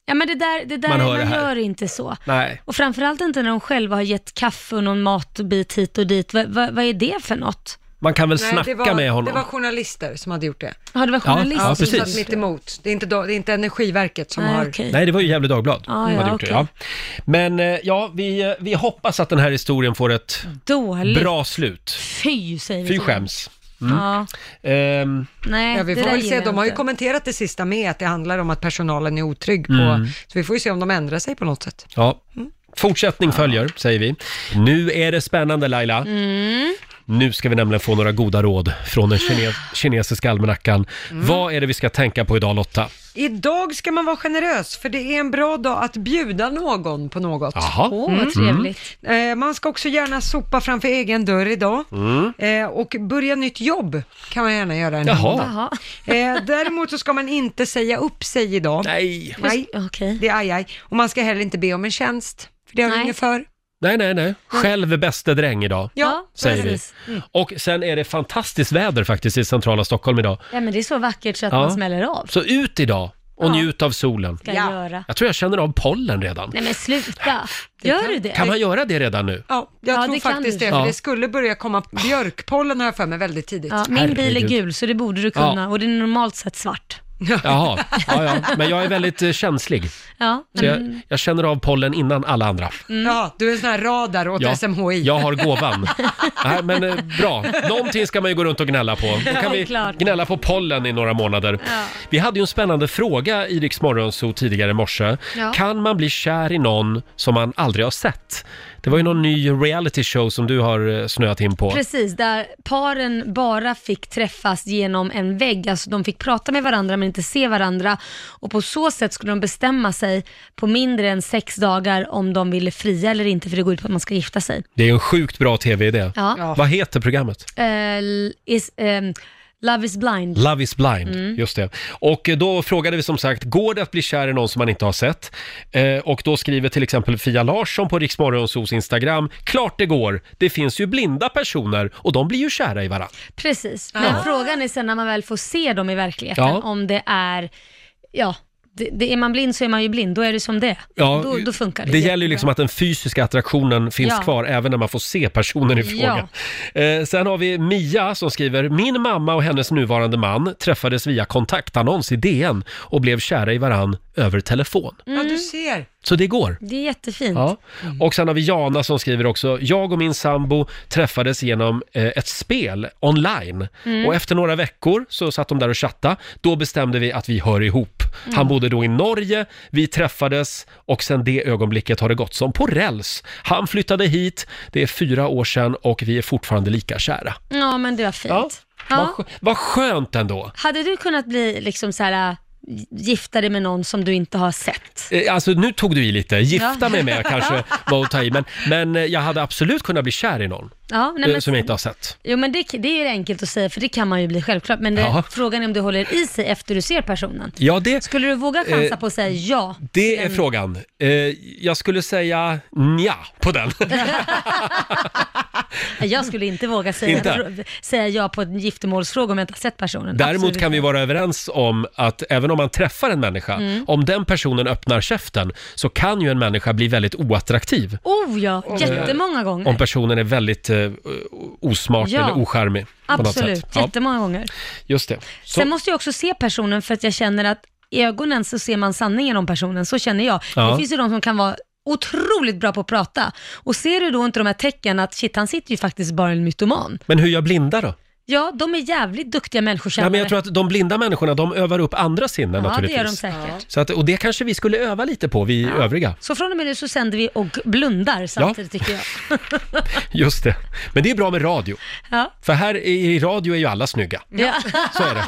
Speaker 2: Ja men det där, det där
Speaker 1: Man
Speaker 2: man,
Speaker 1: hör det här.
Speaker 2: gör inte så.
Speaker 1: Nej.
Speaker 2: Och framförallt inte när de själva har gett kaffe och någon matbit hit och dit. Vad- vad- vad är det för något?
Speaker 1: Man kan väl
Speaker 3: Nej,
Speaker 1: snacka
Speaker 3: det var,
Speaker 1: med honom.
Speaker 3: Det var journalister som hade gjort det.
Speaker 2: Ja, det var journalister
Speaker 1: Ja, ja,
Speaker 3: som
Speaker 1: precis.
Speaker 3: satt mitt emot. Det är inte, då- det är inte Energiverket som
Speaker 2: Nej,
Speaker 3: har...
Speaker 1: Nej, det var ju Gävle Dagblad.
Speaker 2: Ah,
Speaker 3: Ja,
Speaker 1: som
Speaker 3: ja,
Speaker 1: hade gjort det,
Speaker 3: okej.
Speaker 1: Men eh, ja, vi, eh, vi hoppas att den här historien får ett
Speaker 2: Dåligt.
Speaker 1: bra slut.
Speaker 2: Fy säger vi.
Speaker 1: Fy
Speaker 2: till dem.
Speaker 1: skäms. Mm.
Speaker 2: Ja.
Speaker 1: Ehm,
Speaker 2: Nej,
Speaker 3: ja, vi
Speaker 2: det
Speaker 3: får
Speaker 2: där
Speaker 3: väl
Speaker 2: gillar
Speaker 3: se.
Speaker 2: jag
Speaker 3: De har ju
Speaker 2: inte.
Speaker 3: kommenterat det sista med att det handlar om att personalen är otrygg på...
Speaker 1: Mm.
Speaker 2: Mm.
Speaker 3: Så vi får ju se om de ändrar sig på något sätt.
Speaker 1: ja.
Speaker 2: Ah.
Speaker 1: Fortsättning följer, säger vi. Nu är det spännande Laila.
Speaker 2: Mm.
Speaker 1: Nu ska vi nämligen få några goda råd från den kine- kinesiska almanackan.
Speaker 2: Mm.
Speaker 1: Vad är det vi ska tänka på idag Lotta?
Speaker 3: Idag ska man vara generös, för det är en bra dag att bjuda någon på något.
Speaker 1: Jaha. Mm. Åh, vad trevligt.
Speaker 3: Eh, Man ska också gärna sopa framför egen dörr idag.
Speaker 5: Mm.
Speaker 3: Eh, Och börja nytt jobb kan man gärna göra en
Speaker 5: Jaha.
Speaker 3: dag. Eh, Däremot så ska man inte säga upp sig idag.
Speaker 1: Nej.
Speaker 3: Nej, det är aj, aj. Och man ska heller inte be om en tjänst, för det har du inget för.
Speaker 1: Nej, nej, nej. Själv bäste dräng idag,
Speaker 3: Ja,
Speaker 1: säger vi.
Speaker 2: Mm. precis.
Speaker 1: Och sen är det fantastiskt väder faktiskt i centrala Stockholm idag.
Speaker 2: Ja, men det är så vackert så att
Speaker 1: Ja.
Speaker 2: man smäller av.
Speaker 1: Så ut idag och njut av solen.
Speaker 2: Ska jag göra.
Speaker 1: Jag tror jag känner av pollen redan.
Speaker 2: Nej men sluta. Gör du det?
Speaker 1: Kan man göra det redan nu?
Speaker 3: Ja, jag
Speaker 2: Ja,
Speaker 3: tror
Speaker 2: det kan
Speaker 3: faktiskt
Speaker 2: du.
Speaker 3: det, för
Speaker 1: Ja.
Speaker 3: det skulle börja komma björkpollen har jag för mig väldigt tidigt.
Speaker 2: Ja, min bil är
Speaker 1: Herregud.
Speaker 2: gul så det borde du kunna och den är normalt sett svart.
Speaker 1: Jaha, ja, ja. men jag är väldigt eh, känslig.
Speaker 2: Ja, Mm.
Speaker 1: Så
Speaker 2: men-
Speaker 1: jag, jag känner av pollen innan alla andra.
Speaker 3: Ja, du är en sån här radar åt
Speaker 1: Ja,
Speaker 3: SMHI.
Speaker 1: jag har gåvan. Nej, men eh, bra, någonting ska man ju gå runt och gnälla på. Då
Speaker 3: Ja,
Speaker 1: kan vi
Speaker 3: klart.
Speaker 1: gnälla på pollen i några månader.
Speaker 3: Ja.
Speaker 1: Vi hade ju en spännande fråga i Rix Morgonzoo tidigare i morse.
Speaker 5: Ja.
Speaker 1: Kan man bli kär i någon som man aldrig har sett? Det var ju någon ny reality show som du har eh, snöat in på.
Speaker 2: Precis, där paren bara fick träffas genom en vägg. Alltså de fick prata med varandra men inte se varandra. Och på så sätt skulle de bestämma sig på mindre än sex dagar om de ville fria eller inte, för det går ut på att man ska gifta sig.
Speaker 1: Det är en sjukt bra tv-idé.
Speaker 2: Ja. Ja.
Speaker 1: Vad heter programmet?
Speaker 2: Eh, is, ehm, love is blind.
Speaker 1: Love is blind,
Speaker 2: Mm.
Speaker 1: just det. Och eh, då frågade vi som sagt, går det att bli kär i någon som man inte har sett? Eh, och då skriver till exempel Fia Larsson på Riksmorgonsos Instagram, klart det går, det finns ju blinda personer och de blir ju kära i varandra.
Speaker 2: Precis, men
Speaker 3: Ah.
Speaker 2: frågan är sen när man väl får se dem i verkligheten,
Speaker 1: Ja.
Speaker 2: om det är, ja, det, det, är man blind så är man ju blind, då är det som det är.
Speaker 1: Ja,
Speaker 2: då, då funkar det.
Speaker 1: Det gäller ju liksom att den fysiska attraktionen finns
Speaker 2: Ja.
Speaker 1: kvar även när man får se personen i fråga. Eh, sen har vi Mia som skriver, min mamma och hennes nuvarande man träffades via kontaktannons i DN och blev kära i varann över telefon.
Speaker 3: Ja, du ser.
Speaker 1: Så det går.
Speaker 2: Mm. Det är jättefint.
Speaker 1: Ja.
Speaker 2: Mm.
Speaker 1: Och sen har vi Jana som skriver också, jag och min sambo träffades genom eh, ett spel online
Speaker 5: Mm.
Speaker 1: och efter några veckor så satt de där och chattade. Då bestämde vi att vi hör ihop.
Speaker 2: Mm.
Speaker 1: Han bodde då i Norge, vi träffades och sen det ögonblicket har det gått som på räls. Han flyttade hit, det är fyra år sedan och vi är fortfarande lika kära.
Speaker 2: Ja, men det var fint.
Speaker 1: Ja. Vad,
Speaker 2: Ja.
Speaker 1: skö- vad skönt ändå!
Speaker 2: Hade du kunnat bli liksom så här äh, gifta dig med någon som du inte har sett?
Speaker 1: Eh, Alltså nu tog du i lite, gifta
Speaker 2: Ja.
Speaker 1: mig med kanske var att ta i, men, men eh, jag hade absolut kunnat bli kär i någon
Speaker 2: Ja, nej,
Speaker 1: eh,
Speaker 2: men,
Speaker 1: som jag inte har sett.
Speaker 2: Jo men det, det är ju enkelt att säga för det kan man ju bli självklart. Men det,
Speaker 1: Ja.
Speaker 2: frågan är om det håller i sig efter du ser personen.
Speaker 1: Ja, det,
Speaker 2: Skulle du våga chansa
Speaker 1: Eh,
Speaker 2: på att säga ja?
Speaker 1: det är frågan. Eh, jag skulle säga nja på den.
Speaker 2: Jag skulle inte våga säga,
Speaker 1: Inte?
Speaker 2: säga ja på en giftermålsfråga om jag inte har sett personen.
Speaker 1: Däremot
Speaker 2: Absolut.
Speaker 1: kan vi vara överens om att även om man träffar en människa,
Speaker 2: Mm.
Speaker 1: om den personen öppnar käften så kan ju en människa bli väldigt oattraktiv.
Speaker 2: Oh ja, jättemånga gånger.
Speaker 1: Eh, Om personen är väldigt eh, osmart
Speaker 2: Mm. Ja.
Speaker 1: eller ocharmig. på något
Speaker 2: Absolut,
Speaker 1: sätt. Ja,
Speaker 2: jättemånga gånger.
Speaker 1: just det. Så,
Speaker 2: Sen måste jag också se personen för att jag känner att i ögonen så ser man sanningen om personen, så känner jag.
Speaker 1: Ja.
Speaker 2: Det finns ju de som kan vara otroligt bra på att prata och ser du då inte de här tecknen att shit, han sitter ju faktiskt bara i en mytoman.
Speaker 1: men hur gör blinda då?
Speaker 2: Ja, de är jävligt duktiga
Speaker 1: Nej,
Speaker 2: människokännare.
Speaker 1: men jag tror att de blinda människorna, de övar upp andra sinnen
Speaker 2: Ja, det
Speaker 1: naturligtvis.
Speaker 2: gör de säkert.
Speaker 1: Så att, och det kanske vi skulle öva lite på, vi övriga.
Speaker 2: Så från och med nu så sänder vi och blundar samtidigt tycker jag.
Speaker 1: Just det. Men det är bra med radio.
Speaker 2: Ja.
Speaker 1: För här i i radio är ju alla snygga.
Speaker 2: Ja.
Speaker 1: Så är det.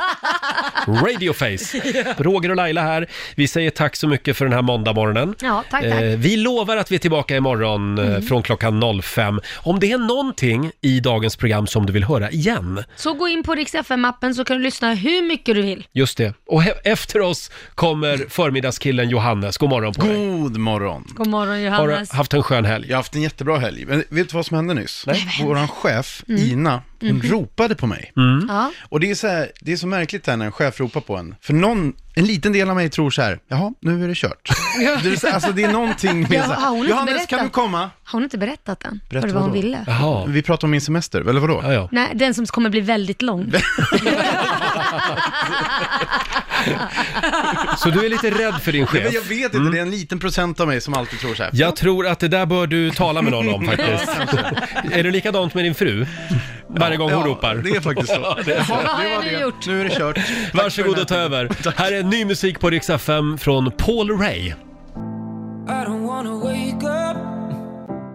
Speaker 1: Radioface. Roger och Laila här. Vi säger tack så mycket för den här måndagmorgonen.
Speaker 2: Ja, tack, Mm. tack.
Speaker 1: Eh, vi lovar att vi är tillbaka imorgon eh, från klockan 05. Om det är någonting i dagens program som du vill höra igen,
Speaker 2: Så gå in på Rix FM-appen så kan du lyssna hur mycket du vill.
Speaker 1: just det. Och he- efter oss kommer förmiddagskillen Johannes. God morgon på dig.
Speaker 10: God morgon.
Speaker 2: God morgon
Speaker 10: Har
Speaker 2: Johannes.
Speaker 10: du
Speaker 1: haft en skön helg?
Speaker 10: Jag har haft en jättebra helg. Men vet du vad som hände nyss? Vår chef,
Speaker 2: Mm.
Speaker 10: Ina, hon
Speaker 2: Mhm.
Speaker 10: ropade på mig.
Speaker 1: Mm.
Speaker 2: Ja.
Speaker 10: Och det är, så här, det är så märkligt det här när en chef ropar på en. För någon, en liten del av mig tror så här, jaha, nu är det kört. det, är så, alltså det är någonting med
Speaker 2: Ja,
Speaker 10: så
Speaker 2: har hon
Speaker 10: här,
Speaker 2: inte
Speaker 10: Johannes,
Speaker 2: berättat?
Speaker 10: kan du komma?
Speaker 2: Har hon inte berättat än?
Speaker 10: Berätta
Speaker 2: vad hon
Speaker 10: vadå?
Speaker 2: ville?
Speaker 10: Vi pratar om min semester, eller vadå?
Speaker 1: Ja, ja.
Speaker 2: Nej, den som kommer bli väldigt lång.
Speaker 1: Så du är lite rädd för din chef? Mm.
Speaker 10: men jag vet inte, det är en liten procent av mig som alltid tror så här.
Speaker 1: Jag tror att det där bör du tala med någon om faktiskt.
Speaker 10: Ja,
Speaker 1: är det likadant med din fru? Varje gång hon
Speaker 10: ja,
Speaker 1: ropar.
Speaker 10: det är faktiskt så.
Speaker 1: Ja, det är så.
Speaker 10: Vad har Det jag var nu det. gjort? Nu är det kört.
Speaker 1: Varsågod och ta över. Här är ny musik på Rix FM från Paul Ray.